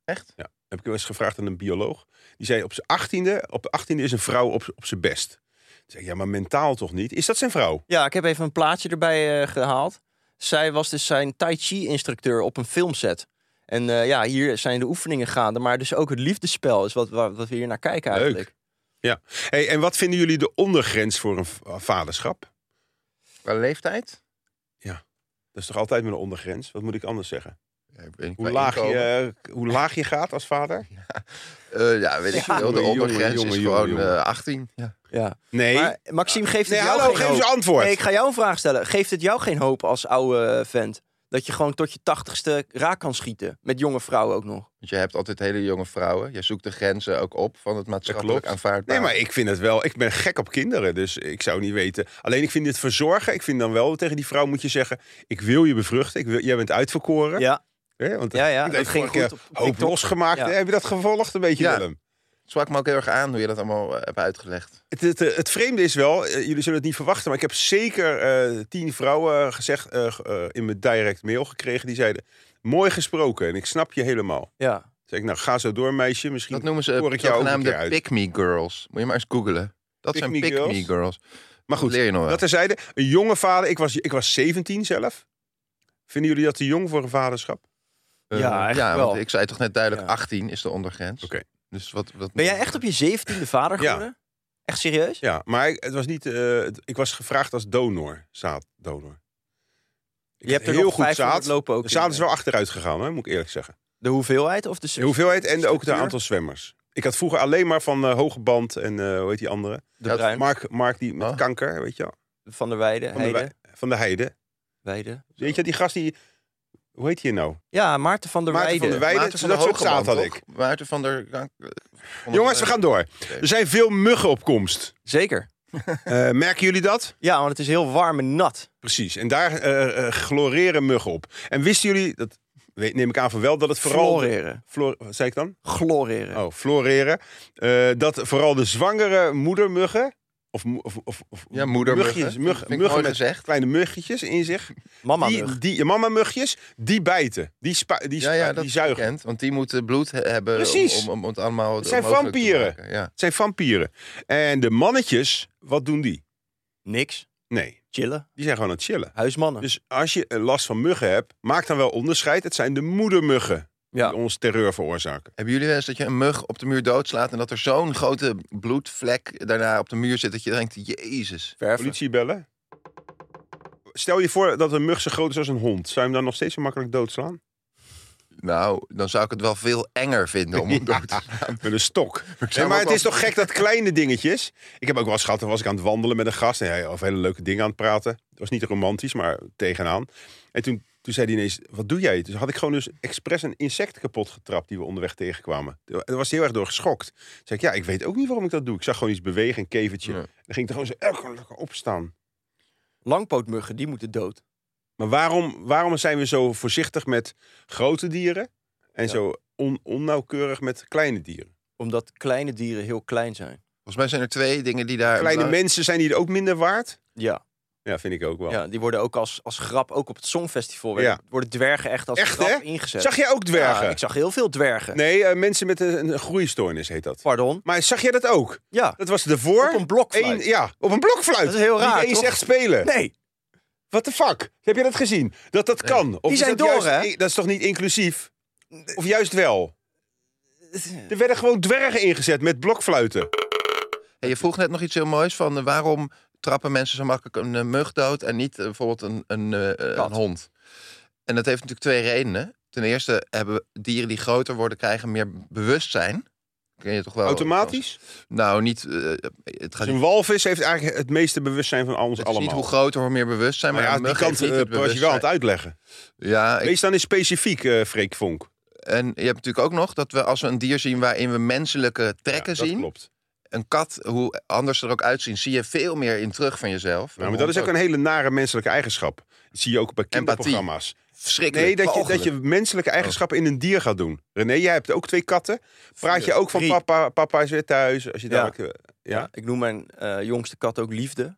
Speaker 4: Echt?
Speaker 2: Ja. Heb ik wel eens gevraagd aan een bioloog. Die zei op zijn 18e, op de 18e is een vrouw op, op zijn best. Ik Zeg, ja, maar mentaal toch niet? Is dat zijn vrouw?
Speaker 3: Ja, ik heb even een plaatje erbij eh, gehaald. Zij was dus zijn Tai Chi-instructeur op een filmset. En eh, ja, hier zijn de oefeningen gaande. Maar dus ook het liefdespel is wat, wa- wat, we hier naar kijken
Speaker 2: Leuk.
Speaker 3: eigenlijk.
Speaker 2: Hey, en wat vinden jullie de ondergrens voor een v- eh, vaderschap?
Speaker 4: Qua leeftijd?
Speaker 2: Dat is toch altijd met een ondergrens? Wat moet ik anders zeggen?
Speaker 4: Ja, ik weet niet,
Speaker 2: Hoe
Speaker 4: qua
Speaker 2: laag,
Speaker 4: inkomen.
Speaker 2: je, eh, hoe laag je gaat als vader?
Speaker 4: Eh, ja, weet ik
Speaker 3: Ja.
Speaker 4: veel. De
Speaker 2: Jongen,
Speaker 4: ondergrens
Speaker 2: jongen,
Speaker 4: is
Speaker 2: jongen,
Speaker 4: gewoon
Speaker 2: jongen.
Speaker 4: eh, 18. Ja.
Speaker 3: Ja.
Speaker 2: Nee.
Speaker 3: Maar Maxime, geeft het
Speaker 2: nee,
Speaker 3: jou
Speaker 2: hallo,
Speaker 3: geen
Speaker 2: geef eens
Speaker 3: hoop?
Speaker 2: antwoord.
Speaker 3: Nee, ik ga jou een vraag stellen. Geeft het jou geen hoop als oude vent? Dat je gewoon tot je tachtigste raak kan schieten. Met jonge vrouwen ook nog.
Speaker 4: Want je hebt altijd hele jonge vrouwen. Je zoekt de grenzen ook op van het maatschappelijk
Speaker 2: klopt.
Speaker 4: aanvaardbaar.
Speaker 2: Nee, maar ik vind het wel. Ik ben gek op kinderen, dus ik zou niet weten. Alleen ik vind dit verzorgen. Ik vind dan wel tegen die vrouw moet je zeggen: ik wil je bevruchten. Ik wil, jij bent uitverkoren.
Speaker 3: Ja,
Speaker 2: Hè? Want
Speaker 3: Ja, ja,
Speaker 2: dat
Speaker 3: dat
Speaker 2: heeft
Speaker 3: ging
Speaker 2: vorige keer
Speaker 3: goed op
Speaker 2: hoop
Speaker 3: TikTok.
Speaker 2: losgemaakt.
Speaker 3: Ja.
Speaker 2: Heb je dat gevolgd een beetje,
Speaker 4: Ja.
Speaker 2: Willem?
Speaker 4: Het zwakt me ook heel erg aan hoe je dat allemaal eh, hebt uitgelegd.
Speaker 2: Het, het, het vreemde is wel, eh, jullie zullen het niet verwachten, maar ik heb zeker eh, tien vrouwen gezegd eh, ge- eh, in mijn direct mail gekregen die zeiden: mooi gesproken en ik snap je helemaal.
Speaker 3: ja.
Speaker 2: Zeg ik, nou ga zo door, meisje. Misschien
Speaker 4: Dat noemen ze
Speaker 2: hoor ik jou ook een keer
Speaker 4: zogenaamde
Speaker 2: uit.
Speaker 4: pick-me girls. Moet je maar eens googlen. Dat
Speaker 2: Pick
Speaker 4: zijn
Speaker 2: me
Speaker 4: pick-me
Speaker 2: girls?
Speaker 4: girls.
Speaker 2: Maar goed,
Speaker 4: Dat leer je nog wel.
Speaker 2: Dat terzijde, een jonge vader. Ik was, ik was 17 zelf. Vinden jullie dat te jong voor een vaderschap?
Speaker 4: Eh,
Speaker 3: Ja, eigenlijk
Speaker 4: want
Speaker 3: wel.
Speaker 4: ik zei toch net duidelijk,
Speaker 3: Ja.
Speaker 4: 18 is de ondergrens.
Speaker 2: Oké.
Speaker 4: Dus wat, wat
Speaker 3: Ben jij echt op je zeventiende vader
Speaker 2: Ja.
Speaker 3: geworden? Echt serieus?
Speaker 2: Ja, maar ik, het was niet, eh, het- ik was gevraagd als donor, zaaddonor. Ik
Speaker 3: Je hebt er
Speaker 2: heel
Speaker 3: nog
Speaker 2: goed
Speaker 3: 500
Speaker 2: zaad.
Speaker 3: lopen ook
Speaker 2: De zaad
Speaker 3: in,
Speaker 2: is
Speaker 3: eh.
Speaker 2: wel achteruit gegaan, hè, moet ik eerlijk zeggen.
Speaker 3: De hoeveelheid of de
Speaker 2: De hoeveelheid en ook het
Speaker 3: structuur?
Speaker 2: aantal zwemmers. Ik had vroeger alleen maar van eh, hoge band en eh, hoe heet die andere?
Speaker 3: De
Speaker 4: Ja,
Speaker 3: Bruin,
Speaker 2: Mark, Mark die met
Speaker 3: Ah.
Speaker 4: Oh.
Speaker 2: kanker, weet je wel?
Speaker 3: Van der Weijden,
Speaker 2: Van de,
Speaker 3: Heide,
Speaker 2: Wei- van de Heide.
Speaker 3: Weijden.
Speaker 2: Weet je, wel, die gast die... Hoe heet die nou?
Speaker 3: Ja, Maarten van der
Speaker 2: Maarten van
Speaker 3: Weijden.
Speaker 2: der Weijden,
Speaker 4: Maarten van
Speaker 2: dat
Speaker 4: der
Speaker 2: soort zaad
Speaker 4: Hogeband,
Speaker 2: had
Speaker 4: toch?
Speaker 2: ik.
Speaker 4: Maarten van der... van der- eh,
Speaker 3: eh,
Speaker 2: Jongens, we gaan door. Er zijn veel muggen op komst.
Speaker 3: Zeker.
Speaker 2: Eh, merken jullie dat?
Speaker 3: Ja, want het is heel warm en nat.
Speaker 2: Precies. En daar eh, eh, gloreren muggen op. En wisten jullie, dat weet- neem ik aan van wel, dat het vooral...
Speaker 3: Floreren.
Speaker 2: Flor- wat zei ik dan?
Speaker 3: Gloreren.
Speaker 2: Oh, floreren. Eh, dat vooral de zwangere moedermuggen... Of, mo- of, of, of
Speaker 4: Ja, moedermuggen.
Speaker 2: mugjes,
Speaker 4: Vind ik
Speaker 2: muggen,
Speaker 4: mooi
Speaker 2: muggen met
Speaker 4: gezegd.
Speaker 2: kleine muggetjes in zich.
Speaker 3: Mama
Speaker 2: Die, die ja, mamamugjes, die bijten. Die, spa, die,
Speaker 4: Ja,
Speaker 2: spa-
Speaker 4: ja, dat
Speaker 2: die
Speaker 4: is
Speaker 2: zuigen.
Speaker 4: bekend. Want die moeten bloed he- hebben
Speaker 2: Precies.
Speaker 4: Om, om het allemaal
Speaker 2: Het zijn
Speaker 4: mogelijk te
Speaker 2: vampieren.
Speaker 4: maken. Ja.
Speaker 2: Het zijn vampieren. En de mannetjes, wat doen die?
Speaker 3: Niks.
Speaker 2: Nee,
Speaker 3: Chillen.
Speaker 2: die zijn gewoon aan het chillen.
Speaker 3: Huismannen.
Speaker 2: Dus als je eh, last van muggen hebt, maak dan wel onderscheid. Het zijn de moedermuggen
Speaker 3: ja.
Speaker 2: die ons terreur veroorzaken.
Speaker 4: Hebben jullie wel eens dat je een mug op de muur doodslaat... en dat er zo'n grote bloedvlek daarna op de muur zit... dat je denkt, jezus.
Speaker 3: Verven.
Speaker 2: Politie bellen. Stel je voor dat een mug zo groot is als een hond. Zou je hem dan nog steeds zo makkelijk doodslaan?
Speaker 4: Nou, dan zou ik het wel veel enger vinden om hem dood te slaan.
Speaker 2: Met een stok.
Speaker 4: zou
Speaker 2: Nee, maar
Speaker 4: ook
Speaker 2: het
Speaker 4: wel-
Speaker 2: is toch gek dat kleine dingetjes. Ik heb ook wel eens gehad, dan was ik aan het wandelen met een gast. En hij of hele leuke dingen aan het praten. Het was niet romantisch, maar tegenaan. En toen, toen zei hij ineens, wat doe jij? Toen had ik gewoon dus expres een insect kapot getrapt die we onderweg tegenkwamen. Toen- Daar was hij heel erg door geschokt. Toen zei ik, ja, ik weet ook niet waarom ik dat doe. Ik zag gewoon iets bewegen, een kevertje.
Speaker 4: Ja.
Speaker 2: Dan ging ik er gewoon zo elke lekker opstaan.
Speaker 3: Langpootmuggen, die moeten dood.
Speaker 2: Maar waarom, waarom zijn we zo voorzichtig met grote dieren en
Speaker 3: Ja.
Speaker 2: zo on- onnauwkeurig met kleine dieren?
Speaker 3: Omdat kleine dieren heel klein zijn.
Speaker 4: Volgens mij zijn er twee dingen die daar...
Speaker 2: Kleine
Speaker 4: belang-
Speaker 2: mensen zijn hier ook minder waard?
Speaker 3: Ja.
Speaker 2: Ja, vind ik ook wel.
Speaker 3: ja. Die worden ook als, als grap, ook op het Songfestival,
Speaker 2: Oh. Ja.
Speaker 3: werden- worden dwergen echt als
Speaker 2: Echt,
Speaker 3: grap
Speaker 2: hè?
Speaker 3: ingezet.
Speaker 2: Zag jij ook dwergen?
Speaker 3: Ja, ik zag heel veel dwergen.
Speaker 2: Nee, eh, mensen met een, een groeistoornis heet dat.
Speaker 3: Pardon.
Speaker 2: Maar zag jij dat ook?
Speaker 3: Ja.
Speaker 2: Dat was ervoor.
Speaker 3: Op een blokfluit.
Speaker 2: Eén- ja, op een blokfluit.
Speaker 3: Dat is heel raar,
Speaker 2: Niet eens
Speaker 3: toch?
Speaker 2: echt spelen.
Speaker 3: Nee.
Speaker 2: What the fuck? Heb je dat gezien? Dat dat kan. Of is
Speaker 3: zijn
Speaker 2: dat
Speaker 3: door,
Speaker 2: juist-
Speaker 3: hè?
Speaker 2: Dat is toch niet inclusief? Of juist wel? Er werden gewoon dwergen ingezet met blokfluiten.
Speaker 3: Oh,
Speaker 4: Hey, je vroeg net nog iets heel moois van eh, waarom trappen mensen zo makkelijk een eh, mug dood en niet eh, bijvoorbeeld een, een, eh, eh,
Speaker 3: Kat.
Speaker 4: een hond. En dat heeft natuurlijk twee redenen. Ten eerste hebben dieren die groter worden krijgen meer bewustzijn. Ken je toch wel?
Speaker 2: Automatisch?
Speaker 4: Nou, niet. eh, het gaat
Speaker 2: Dus
Speaker 4: niet.
Speaker 2: een walvis heeft eigenlijk het meeste bewustzijn van ons
Speaker 4: Het is niet
Speaker 2: allemaal.
Speaker 4: hoe groter, hoe meer bewustzijn.
Speaker 2: maar
Speaker 4: Maar,
Speaker 2: ja,
Speaker 4: een
Speaker 2: die
Speaker 4: mug
Speaker 2: kant
Speaker 4: heeft niet
Speaker 2: eh,
Speaker 4: het
Speaker 2: was je wel aan het
Speaker 4: bewustzijn.
Speaker 2: uitleggen.
Speaker 4: Ja, ik-
Speaker 2: Wees dan eens specifiek, eh Freek Vonk.
Speaker 4: en je hebt natuurlijk ook nog dat we als we een dier zien waarin we menselijke trekken
Speaker 2: Ja, dat
Speaker 4: zien.
Speaker 2: klopt. Nou,
Speaker 4: Een kat, hoe anders ze er ook uitzien, zie je veel meer in terug van jezelf.
Speaker 2: Nou, maar dat is ook een hele nare menselijke eigenschap. Dat zie je ook bij
Speaker 4: Empathie.
Speaker 2: kinderprogramma's.
Speaker 4: verschrikkelijk.
Speaker 2: Nee, dat je, dat
Speaker 4: walgelijk.
Speaker 2: je menselijke eigenschappen in een dier gaat doen. René, jij hebt ook twee katten. Praat je
Speaker 3: Vier.
Speaker 2: ook van
Speaker 3: Drie.
Speaker 2: papa, papa is weer thuis. Als je
Speaker 3: Ja.
Speaker 2: dadelijk, eh, ja.
Speaker 3: Ik noem mijn eh, jongste kat ook liefde.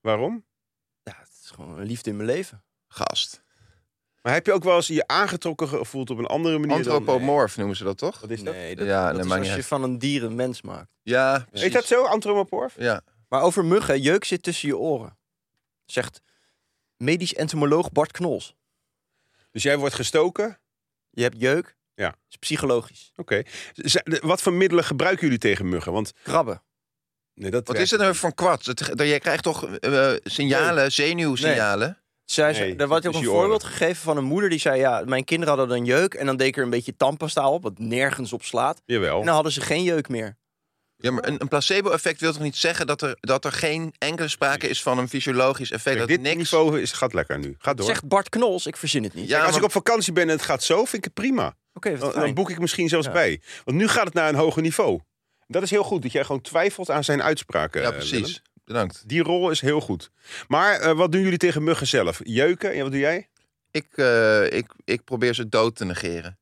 Speaker 2: Waarom?
Speaker 3: Ja, het is gewoon een liefde in mijn leven.
Speaker 4: gast.
Speaker 2: Maar heb je ook wel eens je aangetrokken gevoeld op een andere manier? dan-
Speaker 4: Antropomorf noemen ze dat toch?
Speaker 2: Wat is dat?
Speaker 3: Nee, dat,
Speaker 4: Ja,
Speaker 3: dat
Speaker 4: nee,
Speaker 3: is
Speaker 4: maakt
Speaker 3: als
Speaker 4: niet
Speaker 3: je
Speaker 4: uit.
Speaker 3: van een dier een mens maakt.
Speaker 4: Ja, precies.
Speaker 2: Heet dat zo, antropomorf?
Speaker 4: Ja.
Speaker 3: Maar over muggen, jeuk zit tussen je oren. Zegt medisch entomoloog Bart Knols.
Speaker 2: Dus jij wordt gestoken? Oké.
Speaker 3: Je hebt jeuk.
Speaker 2: Ja.
Speaker 3: Dat is psychologisch.
Speaker 2: Z- z- Wat voor middelen gebruiken jullie tegen muggen? Want
Speaker 3: Krabben.
Speaker 2: nee, dat
Speaker 4: Wat
Speaker 2: werkt
Speaker 4: is het nou voor een kwats? Dat, dat, je krijgt toch eh, signalen, zenuwsignalen?
Speaker 3: Zij, ze-
Speaker 2: Nee,
Speaker 3: er wordt
Speaker 2: dat
Speaker 3: ook een
Speaker 2: is je oren.
Speaker 3: voorbeeld gegeven van een moeder die zei... ja, mijn kinderen hadden dan jeuk en dan deed ik er een beetje tandpasta op... wat nergens op slaat.
Speaker 2: Jawel.
Speaker 3: En
Speaker 4: Nou,
Speaker 3: dan hadden ze geen jeuk meer.
Speaker 4: Ja, maar een, een placebo-effect wil toch niet zeggen dat er, dat er geen enkele sprake is van een fysiologisch effect?
Speaker 2: Kijk,
Speaker 4: dat
Speaker 2: dit
Speaker 4: niks...
Speaker 2: niveau is, gaat lekker nu. Ga door.
Speaker 3: Zegt Bart Knols, ik verzin het niet.
Speaker 4: Ja,
Speaker 2: Kijk, als
Speaker 4: maar-
Speaker 2: ik op vakantie ben en het gaat zo, vind ik het prima.
Speaker 3: Oké, wat
Speaker 2: Dan,
Speaker 3: fijn.
Speaker 2: dan boek ik misschien zelfs
Speaker 3: Ja.
Speaker 2: bij. Want nu gaat het naar een hoger niveau. Dat is heel goed, dat jij gewoon twijfelt aan zijn uitspraken.
Speaker 4: Ja,
Speaker 2: eh, Willem.
Speaker 4: precies. Bedankt.
Speaker 2: Die rol is heel goed. Maar eh, wat doen jullie tegen muggen zelf? Jeuken? Ja, wat doe jij?
Speaker 4: Ik, eh, ik, ik probeer ze dood te negeren.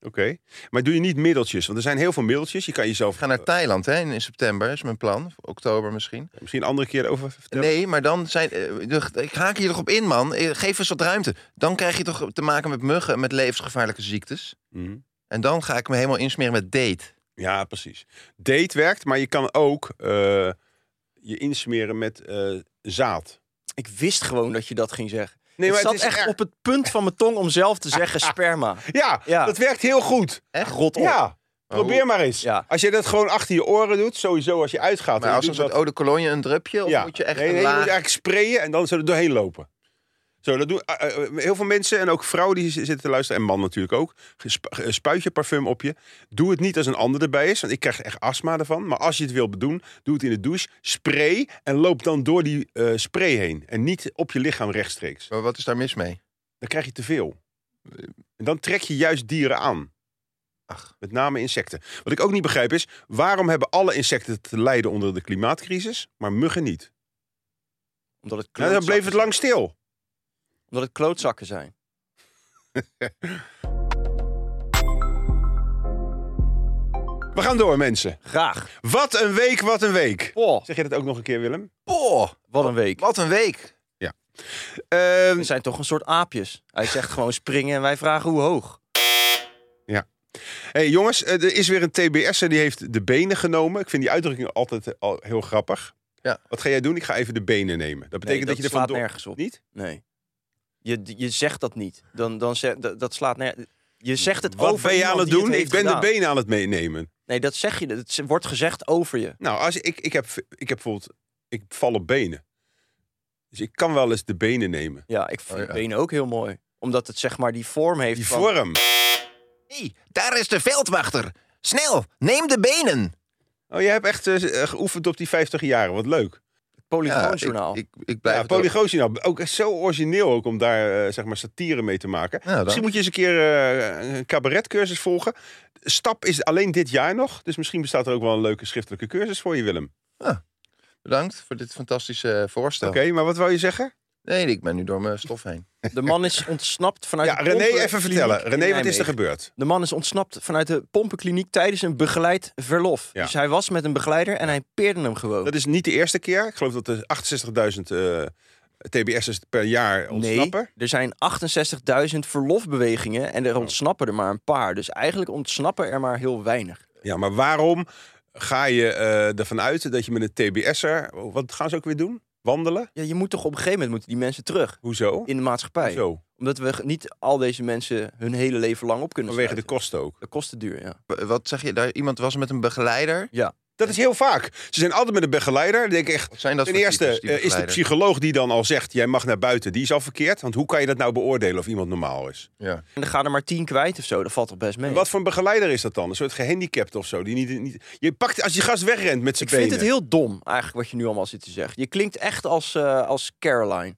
Speaker 2: Oké. Maar doe je niet middeltjes? Want er zijn heel veel middeltjes. Je kan jezelf
Speaker 4: Ik ga naar Thailand hè, in, in september, is mijn plan. Of Oktober misschien.
Speaker 2: eh, misschien een andere keer over vertellen.
Speaker 4: Nee, maar dan zijn... eh, de- ik haak hier toch op in, man. Eh, Geef eens wat ruimte. Dan krijg je toch te maken met muggen en met levensgevaarlijke ziektes.
Speaker 2: Mhm.
Speaker 4: En dan ga ik me helemaal insmeren met date.
Speaker 2: Ja, precies. Date werkt, maar je kan ook eh, je insmeren met eh, zaad.
Speaker 3: Ik wist gewoon dat je dat ging zeggen.
Speaker 2: Nee,
Speaker 3: ik zat echt
Speaker 2: erg.
Speaker 3: op het punt van mijn tong om zelf te zeggen sperma.
Speaker 2: Ja,
Speaker 3: Ja.
Speaker 2: dat werkt heel goed.
Speaker 4: Echt? Oh.
Speaker 3: Rot op.
Speaker 2: Ja.
Speaker 4: Maar
Speaker 2: Probeer
Speaker 4: hoe-
Speaker 2: maar eens.
Speaker 3: Ja.
Speaker 2: Als je dat gewoon achter je oren doet, sowieso als je uitgaat.
Speaker 4: Maar
Speaker 2: en
Speaker 4: als
Speaker 2: je
Speaker 4: een
Speaker 2: doet
Speaker 4: soort eau de cologne een drupje? Of moet je echt
Speaker 2: nee,
Speaker 4: een
Speaker 2: nee, je
Speaker 4: laag...
Speaker 2: moet eigenlijk sprayen en dan zo er doorheen lopen. Zo, dat doen eh, eh, heel veel mensen en ook vrouwen die z- zitten te luisteren. En man natuurlijk ook. gesp- eh, Spuit je parfum op je. Doe het niet als een ander erbij is, want ik krijg echt astma ervan. Maar als je het wil doen, doe het in de douche. Spray en loop dan door die eh, spray heen. En niet op je lichaam rechtstreeks.
Speaker 4: Maar wat is daar mis mee?
Speaker 2: Dan krijg je te veel. En dan trek je juist dieren aan. Met name insecten. Wat ik ook niet begrijp is, waarom hebben alle insecten te lijden onder de klimaatcrisis, maar muggen niet?
Speaker 3: Omdat het
Speaker 2: Nou, dan bleef het lang stil.
Speaker 3: Omdat het klootzakken zijn.
Speaker 2: We gaan door, mensen.
Speaker 3: Graag.
Speaker 2: Wat een week, wat een week.
Speaker 3: Oh,
Speaker 2: Zeg je dat ook nog een keer, Willem?
Speaker 4: Oh,
Speaker 3: wat een week.
Speaker 4: wat een week.
Speaker 2: Ehm,
Speaker 3: We zijn toch een soort aapjes. Hij zegt gewoon springen en wij vragen hoe hoog.
Speaker 2: hey jongens, eh, er is weer een TBS en die heeft de benen genomen. Ik vind die uitdrukking altijd eh, al heel grappig.
Speaker 4: Ja.
Speaker 2: Wat ga jij doen? Ik ga even de benen nemen. Dat betekent dat,
Speaker 3: dat
Speaker 2: je er
Speaker 3: slaat
Speaker 2: vandoor...
Speaker 3: nergens op.
Speaker 2: Niet?
Speaker 3: Nee. Je, je zegt dat niet. Dan, dan zeg, dat, dat slaat nergens... Je zegt het
Speaker 2: Wat
Speaker 3: over
Speaker 2: ben je
Speaker 3: iemand
Speaker 2: aan het
Speaker 3: die
Speaker 2: doen? ik
Speaker 3: heeft
Speaker 2: ben
Speaker 3: gedaan.
Speaker 2: de benen aan het meenemen.
Speaker 3: Nee, dat zeg je. Het wordt gezegd over je.
Speaker 2: Nou, als ik, ik, heb, ik heb bijvoorbeeld... Ik val op benen. Dus ik kan wel eens de benen nemen.
Speaker 3: Ja, ik vind
Speaker 4: Oh, ja.
Speaker 3: benen ook heel mooi. Omdat het zeg maar die vorm heeft
Speaker 2: Die
Speaker 3: van...
Speaker 2: vorm.
Speaker 4: hey, daar is de veldwachter. Snel, neem de benen.
Speaker 2: Oh, je hebt echt eh, geoefend op die 50 jaren. Wat leuk.
Speaker 3: Polygoonjournaal.
Speaker 4: ik, ik, ik blijf
Speaker 2: Ja,
Speaker 4: het ook-
Speaker 2: Polygoosje nou. Ook zo origineel ook om daar eh, zeg maar satire mee te maken.
Speaker 4: Ja, dan.
Speaker 2: misschien moet je eens een keer eh, een cabaretcursus volgen. Stap is alleen dit jaar nog. Dus misschien bestaat er ook wel een leuke schriftelijke cursus voor je, Willem.
Speaker 4: Bedankt voor dit fantastische eh, voorstel.
Speaker 2: Oké, maar wat wou je zeggen?
Speaker 4: Nee, ik ben nu door mijn stof heen.
Speaker 3: De man is ontsnapt vanuit
Speaker 2: Ja,
Speaker 3: de
Speaker 2: René,
Speaker 3: pompen-
Speaker 2: even vertellen.
Speaker 3: kliniek in
Speaker 2: René, wat is er
Speaker 3: Nijmegen.
Speaker 2: gebeurd?
Speaker 3: De man is ontsnapt vanuit de pompenkliniek tijdens een begeleid verlof.
Speaker 2: Ja.
Speaker 3: Dus hij was met een begeleider en hij peerde hem gewoon.
Speaker 2: Dat is niet de eerste keer. Ik geloof dat er 68.000 eh, TBS'ers per jaar
Speaker 3: nee,
Speaker 2: ontsnappen. Oh.
Speaker 3: er zijn 68.000 verlofbewegingen en er ontsnappen er maar een paar. Dus eigenlijk ontsnappen er maar heel weinig.
Speaker 2: Ja, maar waarom ga je eh ervan uit dat je met een TBS'er... Wat gaan ze ook weer doen? Wandelen?
Speaker 3: Ja, je moet toch op een gegeven moment moeten die mensen terug
Speaker 2: Hoezo?
Speaker 3: in de maatschappij.
Speaker 2: Hoezo?
Speaker 3: Omdat we niet al deze mensen hun hele leven lang op kunnen
Speaker 2: Vanwege de
Speaker 3: sluiten.
Speaker 2: kosten ook.
Speaker 3: Dat kost te duur, ja.
Speaker 4: W- Wat zeg je? Daar, iemand was met een begeleider.
Speaker 2: Dat is heel vaak. Ze zijn altijd met een begeleider. Dan denk ik echt,
Speaker 4: Wat zijn dat
Speaker 2: ten
Speaker 4: voor
Speaker 2: eerste
Speaker 4: types, die
Speaker 2: eh, is de
Speaker 4: begeleider?
Speaker 2: psycholoog die dan al zegt... jij mag naar buiten, die is al verkeerd. Want hoe kan je dat nou beoordelen of iemand normaal is?
Speaker 4: Ja.
Speaker 3: En dan gaan er maar tien kwijt of zo. Dat valt toch best mee.
Speaker 2: En wat voor een begeleider is dat dan? Een soort gehandicapte of zo? Die niet, niet, je pakt, als je gast wegrent met zijn
Speaker 3: Dus Ik
Speaker 2: benen...
Speaker 3: vind het heel dom eigenlijk wat je nu allemaal zit te zeggen. Je klinkt echt als, eh, als Caroline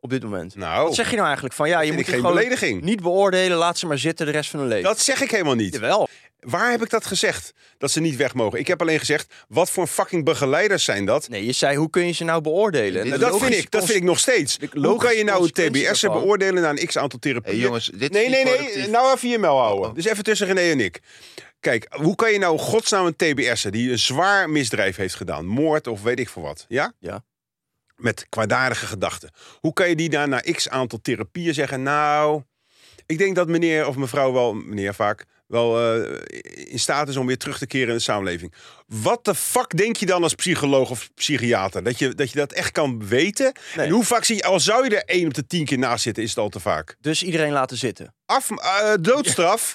Speaker 3: op dit moment.
Speaker 2: Nou,
Speaker 3: Wat zeg je nou eigenlijk van ja, je
Speaker 2: vind
Speaker 3: moet
Speaker 2: ik
Speaker 3: het
Speaker 2: geen
Speaker 3: gewoon
Speaker 2: belediging.
Speaker 3: niet beoordelen, laat ze maar zitten de rest van hun leven.
Speaker 2: Dat zeg ik helemaal niet.
Speaker 3: Jawel.
Speaker 2: Waar heb ik dat gezegd? Dat ze niet weg mogen. Ik heb alleen gezegd, wat voor fucking begeleiders zijn dat?
Speaker 3: Nee, je zei hoe kun je ze nou beoordelen? En
Speaker 4: Dit-
Speaker 3: de
Speaker 2: En dat, vind
Speaker 3: logische
Speaker 2: ik, dat vind ik nog steeds.
Speaker 3: de
Speaker 2: Hoe kan je
Speaker 3: logische
Speaker 2: nou een
Speaker 3: consequentie
Speaker 2: TBS'er
Speaker 3: daarvan-
Speaker 2: beoordelen na een x-aantal therapieën?
Speaker 4: Hey, jongens, dit is
Speaker 2: Nee,
Speaker 4: niet
Speaker 2: nee, nee.
Speaker 4: productief.
Speaker 2: Nou even je mel houden.
Speaker 4: Oh, oh.
Speaker 2: Dus even tussen René en ik. Kijk, hoe kan je nou godsnaam een TBS'er die een zwaar misdrijf heeft gedaan, moord of weet ik veel wat, ja?
Speaker 3: Ja.
Speaker 2: Met kwaadaardige gedachten. Hoe kan je die daar na x aantal therapieën zeggen, nou, ik denk dat meneer of mevrouw wel, meneer vaak, wel eh, in staat is om weer terug te keren in de samenleving. Wat de fuck denk je dan als psycholoog of psychiater? Dat je dat, je dat echt kan weten?
Speaker 3: Nee.
Speaker 2: En hoe vaak zie je, al zou je er één op de tien keer naast zitten, is het al te vaak.
Speaker 3: Dus iedereen laten zitten.
Speaker 2: Af, eh, doodstraf.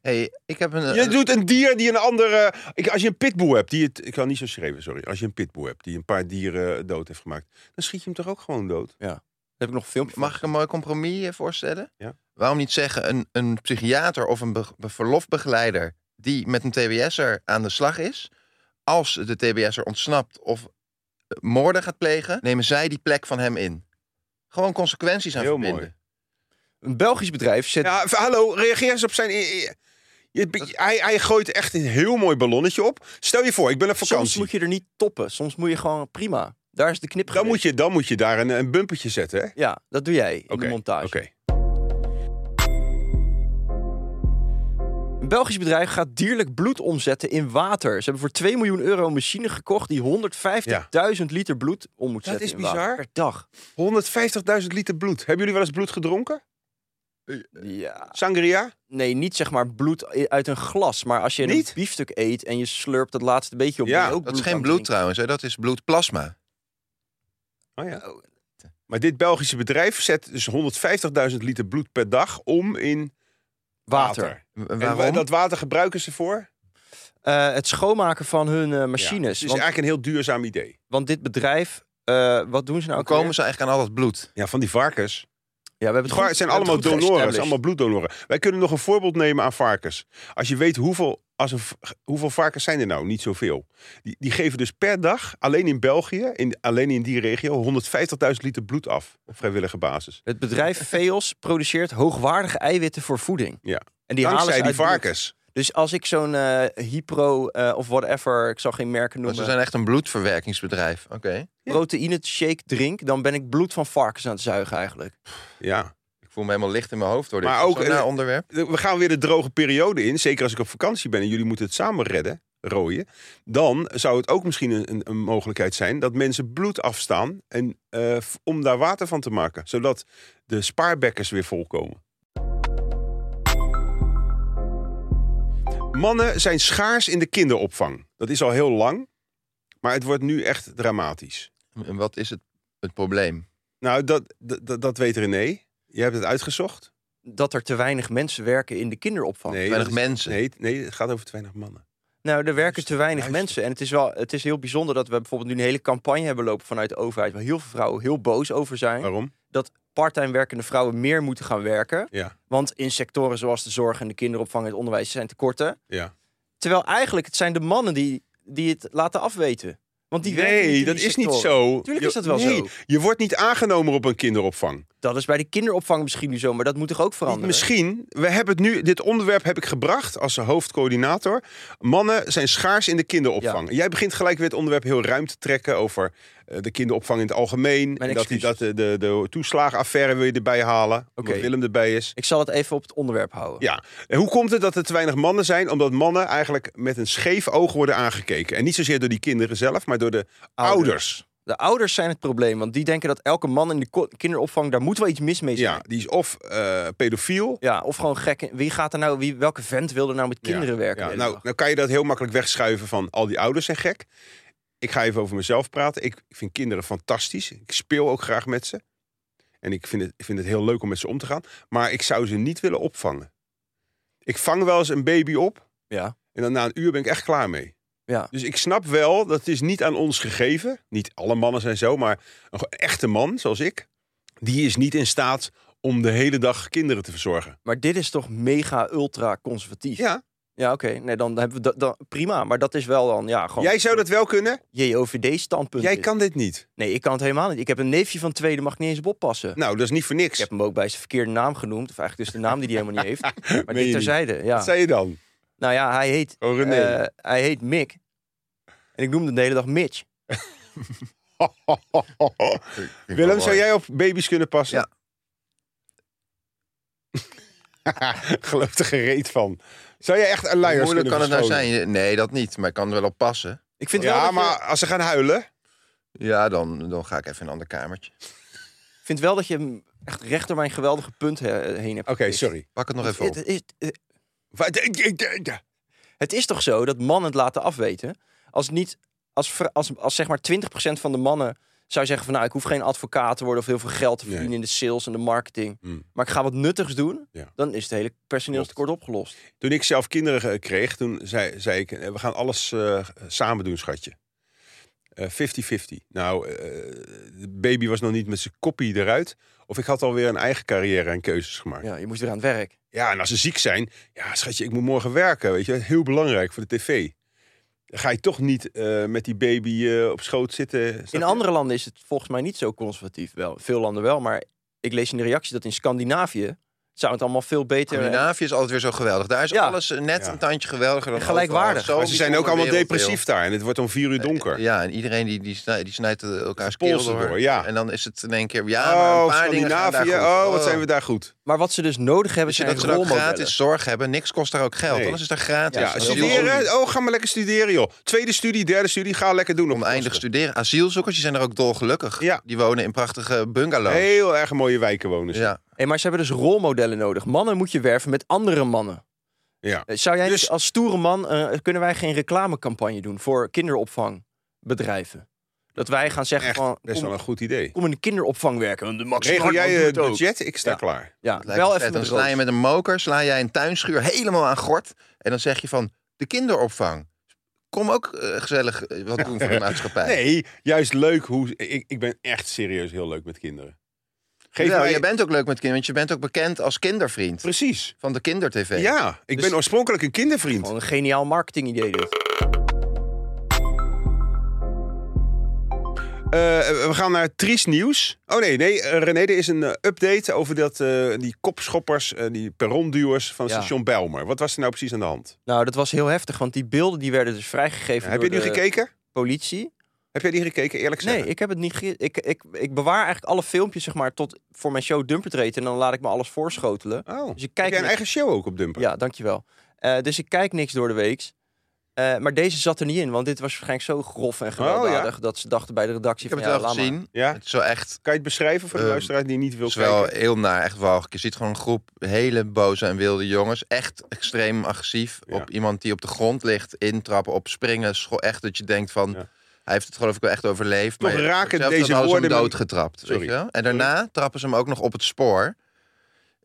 Speaker 4: Hey, ik heb een.
Speaker 2: Je doet een dier die een andere. Ik, als je een pitbull hebt, die het. Ik kan niet zo schrijven, sorry. Als je een pitbull hebt die een paar dieren eh, dood heeft gemaakt, dan schiet je hem toch ook gewoon dood?
Speaker 3: Daar heb ik nog een filmpje van.
Speaker 4: Mag ik een mooi compromis eh, voorstellen?
Speaker 2: Ja.
Speaker 4: Waarom niet zeggen een, een psychiater of een be- be- verlofbegeleider die met een TBS'er aan de slag is, als de TBS'er ontsnapt of eh, moorden gaat plegen, nemen zij die plek van hem in. Gewoon consequenties aan
Speaker 2: Heel
Speaker 4: verbinden.
Speaker 2: mooi.
Speaker 3: Een Belgisch bedrijf zet...
Speaker 2: Ja, v- hallo, reageer eens op zijn. i- i- Je, hij, hij gooit echt een heel mooi ballonnetje op. Stel je voor, ik ben op
Speaker 3: Soms
Speaker 2: vakantie.
Speaker 3: moet je er niet toppen. Soms moet je gewoon prima. Daar is de knip
Speaker 2: dan, moet
Speaker 3: geweest.
Speaker 2: je, dan moet je daar een, een bumpertje zetten. hè?
Speaker 3: Ja, dat doe jij in
Speaker 2: Oké,
Speaker 3: de montage.
Speaker 2: Oké.
Speaker 3: Een Belgisch bedrijf gaat dierlijk bloed omzetten in water. Ze hebben voor 2 miljoen euro een machine gekocht die 150.000 liter bloed om moet
Speaker 2: Dat
Speaker 3: zetten
Speaker 2: is
Speaker 3: in water
Speaker 2: bizar.
Speaker 3: per dag.
Speaker 2: 150.000 liter bloed. Hebben jullie wel eens bloed gedronken?
Speaker 3: Ja.
Speaker 2: Sangria?
Speaker 3: Nee, niet zeg maar bloed i- uit een glas, maar als je
Speaker 2: Niet?
Speaker 3: een biefstuk eet en je slurpt dat laatste beetje op,
Speaker 2: Ja,
Speaker 3: ben je ook
Speaker 4: Dat is
Speaker 3: aan
Speaker 4: geen
Speaker 3: het
Speaker 4: bloed
Speaker 3: drinken.
Speaker 4: trouwens, hè? dat is bloedplasma.
Speaker 2: Oh ja. Maar dit Belgische bedrijf zet dus 150.000 liter bloed per dag om in
Speaker 3: water.
Speaker 2: eh, water.
Speaker 4: W-
Speaker 2: En
Speaker 4: Waarom?
Speaker 2: wa- dat water gebruiken ze voor?
Speaker 3: Eh, het schoonmaken van hun eh,
Speaker 2: Ja,
Speaker 3: machines.
Speaker 2: het is
Speaker 3: want,
Speaker 2: eigenlijk een heel duurzaam idee.
Speaker 3: want dit bedrijf, eh, wat doen ze nou? ook
Speaker 4: Hoe
Speaker 3: alweer?
Speaker 4: komen ze eigenlijk aan al dat bloed?
Speaker 2: Ja, van die varkens.
Speaker 3: Ja, we hebben het
Speaker 2: Var-
Speaker 3: goed-
Speaker 2: zijn
Speaker 3: we hebben
Speaker 2: allemaal
Speaker 3: het goed
Speaker 2: donoren, zijn
Speaker 3: geëstablished.
Speaker 2: allemaal bloeddonoren. Wij kunnen nog een voorbeeld nemen aan varkens. Als je weet hoeveel, als een, v- hoeveel varkens zijn er nou, niet zoveel. Die, die geven dus per dag, alleen in België, in, alleen in die regio, 150.000 liter bloed af. Op vrijwillige basis.
Speaker 3: Het bedrijf Veos produceert hoogwaardige eiwitten voor voeding.
Speaker 2: Ja.
Speaker 3: En die halen ze
Speaker 2: Dankzij die
Speaker 3: uit bloed.
Speaker 2: varkens.
Speaker 3: Dus als ik zo'n eh hypro eh, of whatever, ik zal geen merken
Speaker 4: Want ze
Speaker 3: noemen,
Speaker 4: zijn echt een bloedverwerkingsbedrijf. Oké.
Speaker 3: proteïne shake drink, dan ben ik bloed van varkens aan het zuigen eigenlijk.
Speaker 2: Ja.
Speaker 4: Ik voel me helemaal licht in mijn hoofd door dit.
Speaker 2: Maar
Speaker 4: Is dat
Speaker 2: ook- eh,
Speaker 4: zo'n naar onderwerp.
Speaker 2: We gaan weer de droge periode in. Zeker als ik op vakantie ben en jullie moeten het samen redden, rooien. Dan zou het ook misschien een, een, een mogelijkheid zijn dat mensen bloed afstaan en, eh, f- om daar water van te maken. Zodat de spaarbekkers weer volkomen. Mannen zijn schaars in de kinderopvang. Dat is al heel lang, maar het wordt nu echt dramatisch.
Speaker 4: En wat is het, het probleem?
Speaker 2: Nou, dat, dat, dat- dat weet René. Jij hebt het uitgezocht.
Speaker 3: Dat er te weinig mensen werken in de kinderopvang.
Speaker 2: Nee,
Speaker 4: Oh, Weinig
Speaker 2: dat is-
Speaker 4: mensen.
Speaker 2: Nee, nee, het gaat over te weinig mannen.
Speaker 3: Nou, er
Speaker 2: Dus
Speaker 3: werken te weinig
Speaker 2: Luister.
Speaker 3: mensen. En het is wel, het is heel bijzonder dat we bijvoorbeeld nu een hele campagne hebben lopen vanuit de overheid. Waar heel veel vrouwen heel boos over zijn.
Speaker 2: Waarom?
Speaker 3: Dat parttime werkende vrouwen meer moeten gaan werken.
Speaker 2: Ja,
Speaker 3: Want in sectoren zoals de zorg en de kinderopvang en het onderwijs zijn tekorten.
Speaker 2: ja.
Speaker 3: Terwijl eigenlijk het zijn de mannen die, die het laten afweten. Want die werken niet
Speaker 2: nee,
Speaker 3: in
Speaker 2: dat
Speaker 3: die
Speaker 2: is niet
Speaker 3: sectoren.
Speaker 2: zo.
Speaker 3: Tuurlijk
Speaker 2: Je-
Speaker 3: is dat wel
Speaker 2: nee,
Speaker 3: zo.
Speaker 2: Je wordt niet aangenomen op een kinderopvang.
Speaker 3: Dat is bij de kinderopvang misschien nu zo, maar dat moet toch ook
Speaker 2: Niet
Speaker 3: veranderen?
Speaker 2: misschien. We hebben het nu, dit onderwerp heb ik gebracht als hoofdcoördinator. Mannen zijn schaars in de kinderopvang. Jij begint gelijk weer het onderwerp heel ruim te trekken over eh, de kinderopvang in het algemeen. En dat, die, dat
Speaker 3: excuses.
Speaker 2: de, de, de toeslagenaffaire wil je erbij halen. Omdat
Speaker 3: Oké.
Speaker 2: Willem erbij is.
Speaker 3: Ik zal het even op het onderwerp houden.
Speaker 2: Ja, en hoe komt het dat er te weinig mannen zijn? Omdat mannen eigenlijk met een scheef oog worden aangekeken. En niet zozeer door die kinderen zelf, maar door de ouders.
Speaker 3: De ouders zijn het probleem, want die denken dat elke man in de ko- kinderopvang, daar moet wel iets mis mee zijn.
Speaker 2: Ja, die is of eh, pedofiel.
Speaker 3: Ja, of gewoon gek. Wie gaat er nou, wie, welke vent wil er nou met kinderen
Speaker 2: Ja,
Speaker 3: werken?
Speaker 2: ja,
Speaker 3: de hele
Speaker 2: nou,
Speaker 3: dag?
Speaker 2: nou kan je dat heel makkelijk wegschuiven van al die ouders zijn gek. Ik ga even over mezelf praten. Ik, ik vind kinderen fantastisch. Ik speel ook graag met ze. En ik vind, het, ik vind het heel leuk om met ze om te gaan. Maar ik zou ze niet willen opvangen. Ik vang wel eens een baby op.
Speaker 3: Ja.
Speaker 2: En dan na een uur ben ik echt klaar mee.
Speaker 3: Ja.
Speaker 2: Dus ik snap wel, dat is niet aan ons gegeven. Niet alle mannen zijn zo, maar een ge- echte man zoals ik... die is niet in staat om de hele dag kinderen te verzorgen.
Speaker 3: Maar dit is toch mega ultra conservatief?
Speaker 2: Ja,
Speaker 3: Ja, oké. Nee, dan hebben we dat dan- prima. Maar dat is wel dan, ja, gewoon.
Speaker 2: jij zou dat wel kunnen.
Speaker 3: JOVD-standpunt.
Speaker 2: Jij
Speaker 3: is.
Speaker 2: kan dit niet.
Speaker 3: Nee, ik kan het helemaal niet. Ik heb een neefje van twee, die mag ik niet eens op oppassen.
Speaker 2: Nou, dat is niet voor niks.
Speaker 3: Ik heb hem ook bij zijn verkeerde naam genoemd. Of eigenlijk dus de naam die hij helemaal niet heeft. Maar
Speaker 2: Meen je
Speaker 3: dit
Speaker 2: niet?
Speaker 3: terzijde, ja.
Speaker 2: Wat zei je dan?
Speaker 3: Nou ja, hij heet,
Speaker 2: Oh, René.
Speaker 3: eh, hij heet Mick. En ik noemde hem de hele dag Mitch.
Speaker 2: Willem, zou jij op baby's kunnen passen?
Speaker 4: Ja.
Speaker 2: Geloof er gereed van. Zou jij echt een
Speaker 4: Hoe
Speaker 2: luiers
Speaker 4: moeilijk
Speaker 2: kunnen
Speaker 4: kan het nou
Speaker 2: verschonen?
Speaker 4: zijn? Nee, dat niet. Maar ik kan er wel op passen.
Speaker 3: Ik vind wel
Speaker 2: Ja,
Speaker 3: dat je-
Speaker 2: maar als ze gaan huilen...
Speaker 4: Ja, dan, dan ga ik even in een ander kamertje.
Speaker 3: Ik vind wel dat je hem echt recht door mijn geweldige punt he- heen hebt.
Speaker 2: Oké,
Speaker 3: gepikt.
Speaker 2: sorry.
Speaker 4: Pak het nog even op.
Speaker 3: Het, is,
Speaker 2: Wat- ik- ik- ik-
Speaker 3: het is toch zo dat mannen het laten afweten? Als niet, als, vr- als, als zeg maar 20% van de mannen zou zeggen van nou, ik hoef geen advocaat te worden of heel veel geld te verdienen
Speaker 2: Nee.
Speaker 3: in de sales en de marketing.
Speaker 2: Hmm.
Speaker 3: Maar ik ga wat nuttigs doen,
Speaker 2: Ja.
Speaker 3: dan is het hele personeelstekort opgelost.
Speaker 2: Toen ik zelf kinderen ge- kreeg, toen zei, zei ik... eh, We gaan alles eh, samen doen, schatje. Eh, 50-50. Nou, eh, de baby was nog niet met zijn koppie eruit. Of ik had alweer een eigen carrière en keuzes gemaakt.
Speaker 3: Ja, je moest weer aan het werk.
Speaker 2: Ja, en als ze ziek zijn, ja, schatje, ik moet morgen werken, weet je, dat is heel belangrijk voor de tv. Dan ga je toch niet eh, met die baby eh, op schoot zitten. snap
Speaker 3: In
Speaker 2: je?
Speaker 3: andere landen is het volgens mij niet zo conservatief. Wel, veel landen wel, maar ik lees in de reactie dat in Scandinavië zou het allemaal veel beter
Speaker 4: Scandinavië is altijd weer zo geweldig. Daar is
Speaker 3: Ja.
Speaker 4: alles net
Speaker 2: Ja.
Speaker 4: een tandje geweldiger dan
Speaker 3: En gelijkwaardig.
Speaker 4: overal. Zo'n
Speaker 2: Maar ze zijn ook
Speaker 4: bijzonder
Speaker 2: allemaal depressief daar en het wordt om vier uur donker.
Speaker 4: Eh, Ja, en iedereen die, die, snijdt, die snijdt eh, elkaars
Speaker 2: Polsen
Speaker 4: keel door.
Speaker 2: door, ja.
Speaker 4: En dan is het in één keer... Ja, maar een
Speaker 2: oh,
Speaker 4: paar dingen gaan daar
Speaker 2: Scandinavië,
Speaker 4: goed.
Speaker 2: oh, wat zijn we daar goed.
Speaker 3: Maar wat ze dus nodig hebben
Speaker 4: Weet je
Speaker 3: zijn
Speaker 4: dat ze dan
Speaker 3: rolmodellen.
Speaker 4: gratis zorg hebben? Niks kost daar ook geld.
Speaker 2: Nee.
Speaker 4: Alles is daar gratis.
Speaker 2: Ja,
Speaker 4: Asiel-
Speaker 2: studeren, oh, ga maar lekker studeren, joh. Tweede studie, derde studie, ga lekker doen. op
Speaker 4: Oneindig
Speaker 2: kosten.
Speaker 4: studeren. Asielzoekers, die zijn er ook dolgelukkig.
Speaker 2: Ja.
Speaker 4: Die wonen in prachtige bungalows.
Speaker 2: Heel erg mooie wijken wonen ze.
Speaker 4: Ja.
Speaker 3: Hey, maar ze hebben dus rolmodellen nodig. Mannen moet je werven met andere mannen.
Speaker 2: Ja.
Speaker 3: Eh, Zou jij
Speaker 2: Dus-
Speaker 3: niet als stoere man, eh, kunnen wij geen reclamecampagne doen voor kinderopvangbedrijven? Dat wij gaan zeggen
Speaker 2: Echt,
Speaker 3: van,
Speaker 2: best
Speaker 3: kom,
Speaker 2: wel een goed idee.
Speaker 3: kom in de kinderopvang werken. want De Maxime
Speaker 2: Regel jij eh,
Speaker 3: Hartman doet
Speaker 2: het
Speaker 3: het ook.
Speaker 2: budget? Ik sta
Speaker 3: Ja.
Speaker 2: klaar.
Speaker 3: Ja,
Speaker 4: Het lijkt
Speaker 3: wel
Speaker 4: me
Speaker 3: even
Speaker 4: vet. Dan
Speaker 3: met
Speaker 4: sla je
Speaker 3: rood.
Speaker 4: met een moker, sla jij een tuinschuur helemaal aan gort. En dan zeg je van, de kinderopvang. Kom ook eh, gezellig eh, wat doen voor de maatschappij.
Speaker 2: Nee, juist leuk hoe... Ik, ik ben echt serieus heel leuk met kinderen. Geef
Speaker 4: Jawel,
Speaker 2: mij...
Speaker 4: je bent ook leuk met kinderen, want je bent ook bekend als kindervriend
Speaker 2: Precies.
Speaker 4: van de kindertv.
Speaker 2: Ja, ik
Speaker 3: Dus-
Speaker 2: ben oorspronkelijk een kindervriend.
Speaker 3: Gewoon een geniaal marketingidee dit.
Speaker 2: Eh, we gaan naar Tries nieuws. Oh nee, nee eh, René, er is een eh, update over dat, eh, die kopschoppers, eh, die perronduwers van
Speaker 3: Ja.
Speaker 2: station Bijlmer. Wat was er nou precies aan de hand?
Speaker 3: Nou, dat was heel heftig, want die beelden die werden dus vrijgegeven
Speaker 2: heb
Speaker 3: door
Speaker 2: je nu
Speaker 3: de
Speaker 2: gekeken?
Speaker 3: politie.
Speaker 2: Heb jij die gekeken, eerlijk gezegd?
Speaker 3: Nee, ik heb het niet. ge- Ik, ik, ik bewaar eigenlijk alle filmpjes zeg maar, tot voor mijn show Dumpertreed. En dan laat ik me alles voorschotelen.
Speaker 2: Oh,
Speaker 3: Dus ik
Speaker 2: heb
Speaker 3: kijk.
Speaker 2: jij een
Speaker 3: niks-
Speaker 2: eigen show ook op Dumper?
Speaker 3: Ja, dankjewel. Eh dus ik kijk niks door de week. Eh, maar deze zat er niet in, want dit was waarschijnlijk zo grof
Speaker 2: Oh,
Speaker 3: en gewelddadig dat ze dachten bij de redactie
Speaker 4: Ik heb
Speaker 3: van
Speaker 4: het wel
Speaker 3: ja, laat maar.
Speaker 4: gezien.
Speaker 2: Ja?
Speaker 4: Het is wel echt
Speaker 2: Kan je het beschrijven voor de
Speaker 4: Eh,
Speaker 2: luisteraar die niet wil
Speaker 4: Het is wel
Speaker 2: kijken?
Speaker 4: heel naar, echt wel. Je ziet gewoon een groep hele boze en wilde jongens. Echt extreem agressief
Speaker 2: Ja.
Speaker 4: op iemand die op de grond ligt. Intrappen, op springen. scho- Echt dat je denkt van...
Speaker 2: Ja.
Speaker 4: Hij heeft het geloof ik wel echt overleefd.
Speaker 2: Toch
Speaker 4: maar
Speaker 2: raken
Speaker 4: zelfs dan
Speaker 2: deze
Speaker 4: hadden ze hem
Speaker 2: woorden me-
Speaker 4: doodgetrapt. weet
Speaker 2: Sorry.
Speaker 4: je wel? En daarna trappen ze hem ook nog op het spoor.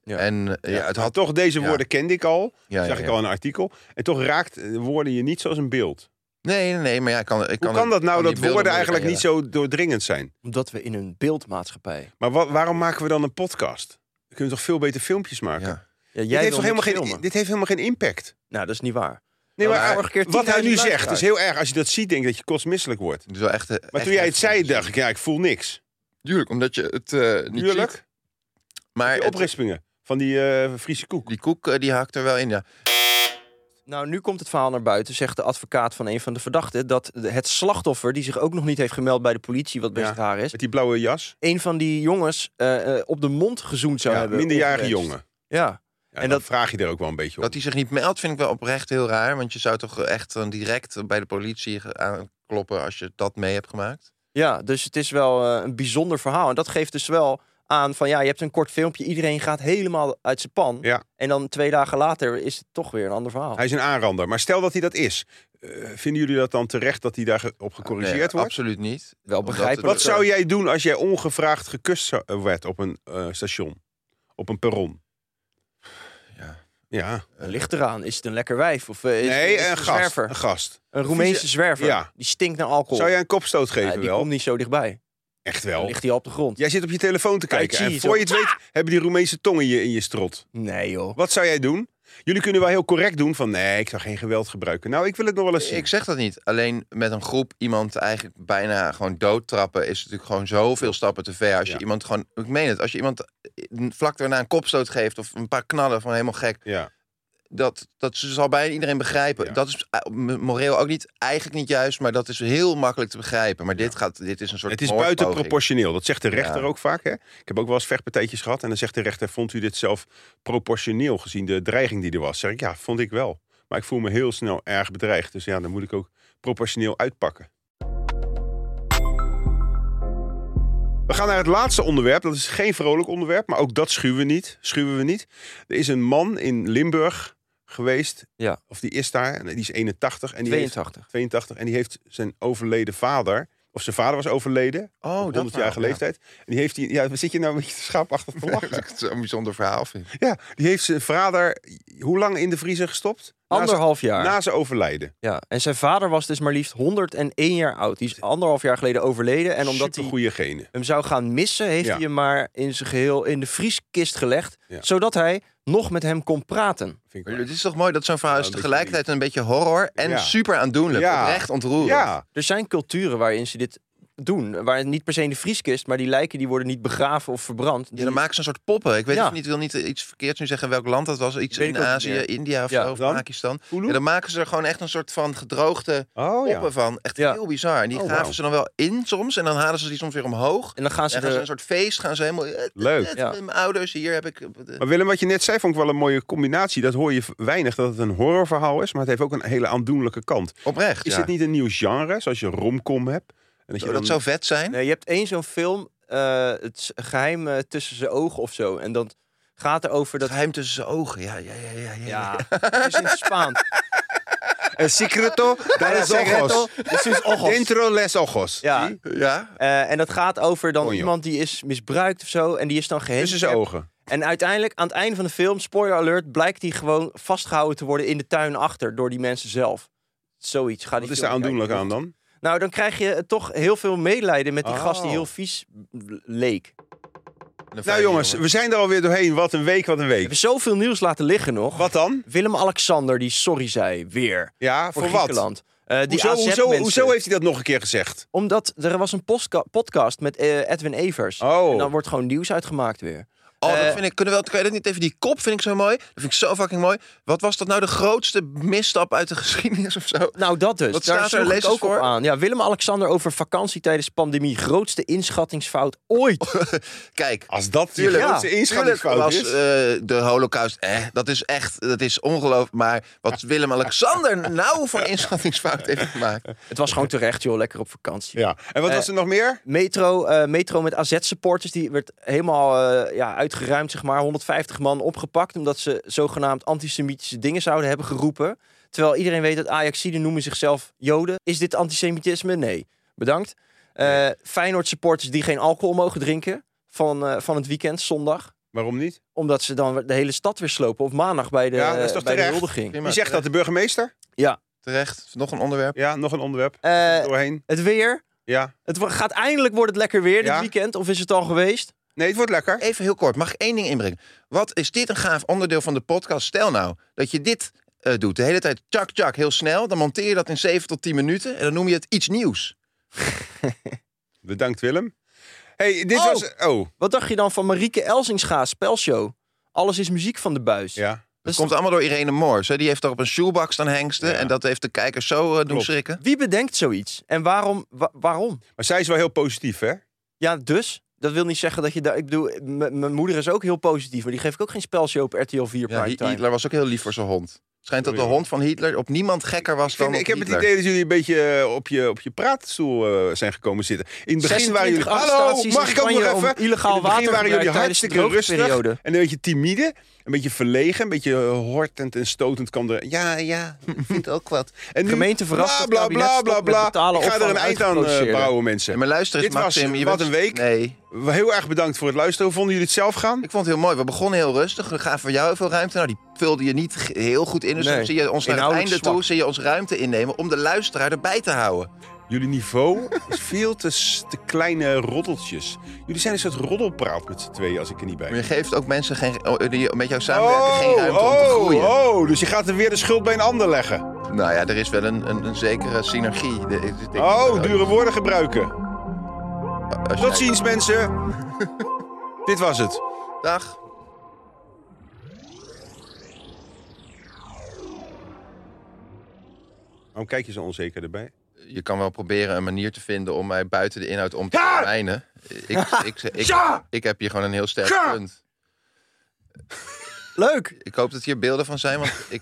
Speaker 3: Ja.
Speaker 4: En eh, ja, het
Speaker 2: maar
Speaker 4: had...
Speaker 2: toch, deze
Speaker 4: ja.
Speaker 2: woorden kende ik al.
Speaker 4: Ja,
Speaker 2: zag
Speaker 4: ja,
Speaker 2: ik
Speaker 4: ja.
Speaker 2: al in een artikel. En toch raakt eh, woorden je niet zoals een beeld.
Speaker 4: Nee, nee, nee. Maar ja, ik kan, ik
Speaker 2: Hoe
Speaker 4: kan,
Speaker 2: kan dat nou
Speaker 4: kan
Speaker 2: dat
Speaker 4: die beelden
Speaker 2: woorden
Speaker 4: moeilijk
Speaker 2: eigenlijk niet zo doordringend zijn?
Speaker 3: Omdat we in een beeldmaatschappij.
Speaker 2: Maar wa- waarom maken we dan een podcast? We kunnen toch veel beter filmpjes maken?
Speaker 4: Ja.
Speaker 3: Ja,
Speaker 2: Dit,
Speaker 3: jij
Speaker 2: heeft
Speaker 3: wil
Speaker 2: toch helemaal
Speaker 3: niks
Speaker 2: geen,
Speaker 3: filmen.
Speaker 2: dit heeft helemaal geen impact.
Speaker 3: Nou, dat is niet waar.
Speaker 2: Nee,
Speaker 3: Nou,
Speaker 2: maar
Speaker 3: vorige keer
Speaker 2: wat hij
Speaker 3: 10.000
Speaker 2: nu zegt is
Speaker 3: luisteraars.
Speaker 2: heel erg. Als je dat ziet, denk ik dat je kotsmisselijk wordt.
Speaker 4: Het is wel echt,
Speaker 2: Maar toen jij het zei, dacht ik, ja, ik voel niks.
Speaker 4: Tuurlijk, omdat je het eh niet ziet.
Speaker 2: Tuurlijk.
Speaker 4: Maar
Speaker 2: Die
Speaker 4: het-
Speaker 2: oprispingen van die eh, Friese koek.
Speaker 4: die koek eh, die hakt er wel in, ja.
Speaker 3: Nou, nu komt het verhaal naar buiten, zegt de advocaat van een van de verdachten, dat de- het slachtoffer, die zich ook nog niet heeft gemeld bij de politie, wat best
Speaker 2: Ja.
Speaker 3: raar is,
Speaker 2: Met die blauwe jas.
Speaker 3: een van die jongens eh, eh, op de mond gezoend zou
Speaker 2: Ja,
Speaker 3: hebben.
Speaker 2: minderjarige
Speaker 3: ongewenst.
Speaker 2: jongen.
Speaker 3: Ja,
Speaker 2: Ja,
Speaker 3: En
Speaker 2: dan
Speaker 3: dat-
Speaker 2: vraag je er ook wel een beetje op.
Speaker 4: Dat hij zich niet meldt vind ik wel oprecht heel raar. Want je zou toch echt dan direct bij de politie ge- aankloppen als je dat mee hebt gemaakt.
Speaker 3: ja, dus het is wel eh, een bijzonder verhaal. En dat geeft dus wel aan van, ja, je hebt een kort filmpje, iedereen gaat helemaal uit zijn pan.
Speaker 2: Ja.
Speaker 3: En dan twee dagen later is het toch weer een ander verhaal.
Speaker 2: Hij is een aanrander. Maar stel dat hij dat is. eh, vinden jullie dat dan terecht dat hij daarop gecorrigeerd
Speaker 3: Ah,
Speaker 4: Nee,
Speaker 2: wordt?
Speaker 4: Absoluut niet.
Speaker 3: Wel
Speaker 4: Omdat
Speaker 3: begrijpelijk.
Speaker 2: Wat zou jij doen als jij ongevraagd gekust zou- eh, werd op een eh, station? Op een perron?
Speaker 4: Ja.
Speaker 2: Ja.
Speaker 3: eh, Ligt eraan, is het een lekker wijf of eh, is,
Speaker 2: Nee,
Speaker 3: is het
Speaker 2: een
Speaker 3: een
Speaker 2: gast.
Speaker 3: zwerver?
Speaker 2: Een gast.
Speaker 3: Een Roemeense zwerver,
Speaker 2: Ja.
Speaker 3: die stinkt naar alcohol.
Speaker 2: Zou jij een kopstoot
Speaker 3: Ja,
Speaker 2: geven
Speaker 3: die
Speaker 2: wel?
Speaker 3: komt niet zo dichtbij.
Speaker 2: Echt
Speaker 3: Dan
Speaker 2: wel.
Speaker 3: ligt hij al op de grond.
Speaker 2: Jij zit op je telefoon te
Speaker 3: Tai
Speaker 2: kijken.
Speaker 3: Chi
Speaker 2: En
Speaker 3: is
Speaker 2: voor
Speaker 3: ook-
Speaker 2: je het weet hebben die Roemeense tongen je in je strot.
Speaker 3: Nee joh.
Speaker 2: Wat zou jij doen? Jullie kunnen wel heel correct doen van nee, ik zou geen geweld gebruiken. Nou, ik wil het nog wel eens zien.
Speaker 4: Ik zeg dat niet. Alleen met een groep iemand eigenlijk bijna gewoon doodtrappen... is natuurlijk gewoon zoveel stappen te ver. Als je
Speaker 2: Ja.
Speaker 4: iemand gewoon... Ik meen het. Als je iemand vlak daarna een kopstoot geeft... of een paar knallen van helemaal gek...
Speaker 2: Ja.
Speaker 4: dat, dat ze zal bijna iedereen begrijpen.
Speaker 2: Ja.
Speaker 4: Dat is eh, moreel ook niet, eigenlijk niet juist... maar dat is heel makkelijk te begrijpen. Maar dit, gaat, dit is een soort
Speaker 2: Het is
Speaker 4: moordpoging.
Speaker 2: buitenproportioneel. Dat zegt de rechter
Speaker 4: Ja.
Speaker 2: ook vaak. Hè? Ik heb ook wel eens vechtpartijtjes gehad. En dan zegt de rechter, vond u dit zelf proportioneel gezien de dreiging die er was? Zeg ik, ja, vond ik wel. Maar ik voel me heel snel erg bedreigd. Dus ja, dan moet ik ook proportioneel uitpakken. We gaan naar het laatste onderwerp. Dat is geen vrolijk onderwerp, maar ook dat schuwen we niet. Schuwen we niet. Er is een man in Limburg geweest.
Speaker 3: Ja.
Speaker 2: Of die is daar. en Die is 81. En die heeft-
Speaker 3: 82.
Speaker 2: 82. En die heeft zijn overleden vader. Of zijn vader was overleden.
Speaker 4: Oh,
Speaker 2: op
Speaker 4: dat
Speaker 2: 100
Speaker 4: verhaal,
Speaker 2: jarige leeftijd. En die heeft die. Ja, wat zit je nou een beetje te schaapachtig te
Speaker 4: Ja. Dat
Speaker 2: lachen?
Speaker 4: ik het zo'n bijzonder verhaal vind.
Speaker 2: ja, die heeft zijn vader. Hoe lang in de vriezer gestopt? Na zijn-
Speaker 3: Anderhalf jaar.
Speaker 2: Na zijn overlijden.
Speaker 3: Ja. En zijn vader was dus maar liefst 101 jaar oud. Die is anderhalf jaar geleden overleden. En omdat hij
Speaker 2: goede genen.
Speaker 3: hem zou gaan missen, heeft
Speaker 2: Ja.
Speaker 3: hij hem maar in zijn geheel in de vrieskist gelegd.
Speaker 2: Ja.
Speaker 3: Zodat hij nog met hem kon praten.
Speaker 2: Vind ik
Speaker 4: Maar
Speaker 2: wel.
Speaker 4: Het is toch mooi dat zo'n verhaal
Speaker 2: Ja,
Speaker 4: is
Speaker 2: een beetje
Speaker 4: tegelijkertijd een beetje horror en
Speaker 2: Ja.
Speaker 4: super aandoenlijk.
Speaker 2: Ja.
Speaker 4: Echt ontroerend.
Speaker 2: Ja,
Speaker 3: Er zijn culturen waarin ze dit doen. Waar het niet per se in de vrieskist, maar die lijken die worden niet begraven of verbrand.
Speaker 4: Ja,
Speaker 3: Die-
Speaker 4: dan maken ze een soort poppen. Ik weet
Speaker 3: Ja.
Speaker 4: het niet, ik wil niet eh, iets verkeerds nu zeggen welk land dat was. Iets
Speaker 3: Weet
Speaker 4: in
Speaker 3: ik ook niet
Speaker 4: Azië,
Speaker 3: meer.
Speaker 4: India of
Speaker 3: Ja,
Speaker 4: zo, of
Speaker 2: dan?
Speaker 4: Pakistan.
Speaker 2: Hulu?
Speaker 4: Ja, dan maken ze er gewoon echt een soort van gedroogde
Speaker 2: Oh
Speaker 4: poppen
Speaker 2: ja.
Speaker 4: van. Echt
Speaker 3: Ja.
Speaker 4: heel bizar. En die
Speaker 2: Oh,
Speaker 4: gaven
Speaker 2: wauw.
Speaker 4: ze dan wel in soms. En dan halen ze die soms weer omhoog.
Speaker 3: en dan gaan ze
Speaker 4: En gaan ze
Speaker 3: de-
Speaker 4: een soort feest gaan ze helemaal... eh, eh,
Speaker 2: Leuk.
Speaker 4: eh,
Speaker 3: Ja.
Speaker 4: Mijn ouders, hier heb ik... eh, eh,
Speaker 2: Maar Willem, wat je net zei, vond ik wel een mooie combinatie. Dat hoor je v- weinig, dat het een horrorverhaal is. Maar het heeft ook een hele aandoenlijke kant.
Speaker 4: Oprecht,
Speaker 2: Is
Speaker 4: ja.
Speaker 2: dit niet een nieuw genre, zoals je romcom hebt? En dat je
Speaker 3: Oh,
Speaker 4: Zou
Speaker 2: dan-
Speaker 4: dat zo vet zijn?
Speaker 3: Nee, je hebt één zo'n film, eh, het s- geheim eh, tussen zijn ogen of zo. En dat gaat erover
Speaker 4: Dat
Speaker 3: dat...
Speaker 4: geheim tussen zijn ogen. Ja, ja, ja, ja. ja.
Speaker 3: Ja, het is in het Spaans.
Speaker 2: El secreto de los ojos.
Speaker 3: Het is ojos.
Speaker 2: Dentro les ojos.
Speaker 3: Ja,
Speaker 4: ja.
Speaker 3: Eh, en dat gaat over dan
Speaker 2: Coño.
Speaker 3: iemand die is misbruikt of zo. En die is dan
Speaker 2: Tussen zijn
Speaker 3: gehandicapt.
Speaker 2: ogen.
Speaker 3: En uiteindelijk, aan het einde van de film, spoiler alert, blijkt hij gewoon vastgehouden te worden in de tuin achter door die mensen zelf. Zoiets. Ga die
Speaker 2: Wat is
Speaker 3: film
Speaker 2: daar aandoenlijk
Speaker 3: kijken.
Speaker 2: aan dan?
Speaker 3: Nou, dan krijg je toch heel veel medelijden met die gast die
Speaker 2: Oh.
Speaker 3: heel vies leek.
Speaker 2: Nou jongens, we zijn er alweer doorheen. Wat een week, wat een
Speaker 3: We
Speaker 2: week.
Speaker 3: hebben zoveel nieuws laten liggen nog.
Speaker 2: Wat dan?
Speaker 3: Willem-Alexander die sorry zei, weer.
Speaker 2: Ja, voor,
Speaker 3: Voor,
Speaker 2: wat?
Speaker 3: Griekenland. Eh, die
Speaker 2: Hoezo,
Speaker 3: AZ-mensen.
Speaker 2: hoezo, hoezo heeft hij dat nog een keer gezegd?
Speaker 3: Omdat er was een postka- podcast met eh, Edwin Evers.
Speaker 2: Oh.
Speaker 3: En dan wordt gewoon nieuws uitgemaakt weer.
Speaker 4: Oh,
Speaker 3: Eh,
Speaker 4: dat vind ik, kunnen we, wel- kan je dat niet even, die kop vind ik zo mooi. Dat vind ik zo fucking mooi. Wat was dat nou de grootste misstap uit de geschiedenis of zo?
Speaker 3: Nou, dat dus.
Speaker 4: Wat
Speaker 3: Daar
Speaker 4: staat er?
Speaker 3: sloeg
Speaker 4: Lees
Speaker 3: ik
Speaker 4: eens
Speaker 3: ook op
Speaker 4: voor.
Speaker 3: aan. Ja, Willem-Alexander over vakantie tijdens pandemie. Grootste inschattingsfout
Speaker 4: Oh.
Speaker 3: ooit.
Speaker 4: Kijk,
Speaker 2: Als dat de
Speaker 4: Tuurlijk,
Speaker 2: grootste
Speaker 4: Tuurlijk
Speaker 2: inschattingsfout
Speaker 4: was
Speaker 2: is.
Speaker 4: eh, de holocaust, eh, dat is echt, dat is ongelooflijk. Maar wat Willem-Alexander nou voor inschattingsfout heeft gemaakt.
Speaker 3: Het was gewoon terecht, joh. Lekker op vakantie.
Speaker 2: ja. En wat
Speaker 3: eh,
Speaker 2: was er nog meer?
Speaker 3: Metro, eh, metro met AZ-supporters, die werd helemaal eh, ja, uitgeruimd, zeg maar. 150 man opgepakt, omdat ze zogenaamd antisemitische dingen zouden hebben geroepen. Terwijl iedereen weet dat Ajaxiden noemen zichzelf Joden. Is dit antisemitisme? Nee. Bedankt. Eh Feyenoord-supporters die geen alcohol mogen drinken van, eh, van het weekend, zondag.
Speaker 2: Waarom niet?
Speaker 3: Omdat ze dan de hele stad weer slopen. Of maandag bij de,
Speaker 2: Ja, dat is toch
Speaker 3: bij de
Speaker 2: terecht?
Speaker 3: huldiging.
Speaker 4: Prima,
Speaker 2: Wie zegt dat? De burgemeester?
Speaker 4: Terecht, nog een onderwerp.
Speaker 2: Ja, nog een onderwerp.
Speaker 3: Eh,
Speaker 2: Doorheen.
Speaker 3: het weer.
Speaker 2: Ja.
Speaker 3: Het wo- gaat eindelijk wordt het lekker weer
Speaker 2: Ja.
Speaker 3: dit weekend. Of is het al geweest?
Speaker 2: Nee, het wordt lekker.
Speaker 4: Even heel kort, mag ik één ding inbrengen? Wat is dit een gaaf onderdeel van de podcast? Stel nou dat je dit eh, doet, de hele tijd tjak tjak heel snel. Dan monteer je dat in 7 tot 10 minuten en dan noem je het iets nieuws.
Speaker 2: Bedankt Willem. hey, dit
Speaker 3: Oh.
Speaker 2: was... Oh,
Speaker 3: Wat dacht je dan van Marieke Elsinga, spelshow? Alles is muziek van de buis.
Speaker 2: ja.
Speaker 4: Dat
Speaker 3: Dus-
Speaker 4: komt allemaal door Irene Moors. Hè? Die heeft daar op een shoebox staan hengsten.
Speaker 2: Ja.
Speaker 4: En dat heeft de kijkers zo eh, doen
Speaker 2: Klopt.
Speaker 4: schrikken.
Speaker 3: Wie bedenkt zoiets? En waarom? wa- waarom?
Speaker 2: Maar zij is wel heel positief, hè?
Speaker 3: Ja, dus. Dat wil niet zeggen dat je daar... Ik bedoel, m- mijn moeder is ook heel positief. Maar die geef ik ook geen spelshow op RTL 4
Speaker 4: Ja, Hi-
Speaker 3: primetime.
Speaker 4: Hitler was ook heel lief voor zijn hond. Schijnt dat de
Speaker 2: Sorry,
Speaker 4: hond van Hitler op niemand gekker was
Speaker 2: Ik, vind-
Speaker 4: dan
Speaker 2: ik
Speaker 4: op
Speaker 2: heb het
Speaker 4: Hitler.
Speaker 2: idee dat jullie een beetje eh, op je, op je praatstoel eh, zijn gekomen zitten. In het begin waren jullie...
Speaker 3: 26
Speaker 2: Hallo,
Speaker 3: arrestaties
Speaker 2: mag
Speaker 3: in
Speaker 2: ik ook nog
Speaker 3: Spanje
Speaker 2: even?
Speaker 3: om
Speaker 2: In
Speaker 3: Illegaal
Speaker 2: het begin
Speaker 3: water
Speaker 2: waren jullie
Speaker 3: tijdens de
Speaker 2: hartstikke rustig.
Speaker 3: droogperiode.
Speaker 2: En een beetje timide, een beetje verlegen, een beetje eh, hortend en stotend kwam er. Ja, ja, ik vind ook wat. En nu,
Speaker 3: Gemeente verrast
Speaker 2: bla
Speaker 3: het
Speaker 2: bla
Speaker 3: kabinet
Speaker 2: bla
Speaker 3: stopt
Speaker 2: bla
Speaker 3: met
Speaker 2: bla.
Speaker 3: betalen
Speaker 2: Ik ga er
Speaker 3: opvang
Speaker 2: een eind aan eh,
Speaker 3: uitgeproduceerden.
Speaker 2: bouwen,
Speaker 4: Ja,
Speaker 2: mensen.
Speaker 4: Maar luister eens,
Speaker 2: Dit was,
Speaker 4: Maxim. je
Speaker 2: wat
Speaker 4: bent-
Speaker 2: een week.
Speaker 4: Nee,
Speaker 2: Heel erg bedankt voor het luisteren. Hoe vonden jullie het zelf gaan?
Speaker 4: ik vond het heel mooi. We begonnen heel rustig. We gaven voor jou heel veel ruimte. Nou, die vulde je niet ge- heel goed in. Dus
Speaker 3: Nee,
Speaker 4: dan zie je ons naar het
Speaker 3: inhoudelijk
Speaker 4: einde
Speaker 3: zwak.
Speaker 4: toe, zie je ons ruimte innemen om de luisteraar erbij te houden.
Speaker 2: Jullie niveau is veel te, s- te kleine roddeltjes. Jullie zijn een soort roddelpraat met z'n tweeën als ik er niet bij
Speaker 4: Maar
Speaker 2: ben.
Speaker 4: je geeft ook mensen geen, oh, die met jou samenwerken geen ruimte om te groeien.
Speaker 2: oh, dus je gaat er weer de schuld bij een ander leggen.
Speaker 4: Nou ja, er is wel een, een, een zekere synergie. De- ik denk dat
Speaker 2: Oh,
Speaker 4: wel-
Speaker 2: dure woorden gebruiken.
Speaker 4: als jij-
Speaker 2: Tot ziens, mensen. Dit was het.
Speaker 4: Dag.
Speaker 2: Waarom kijk je zo onzeker erbij?
Speaker 4: Je kan wel proberen een manier te vinden om mij buiten de inhoud om te vermijden. Ik, ik, ik,
Speaker 2: Ja!
Speaker 4: ik heb hier gewoon een heel sterk
Speaker 2: Ja!
Speaker 4: punt.
Speaker 3: Leuk!
Speaker 4: Ik hoop dat hier beelden van zijn, want ik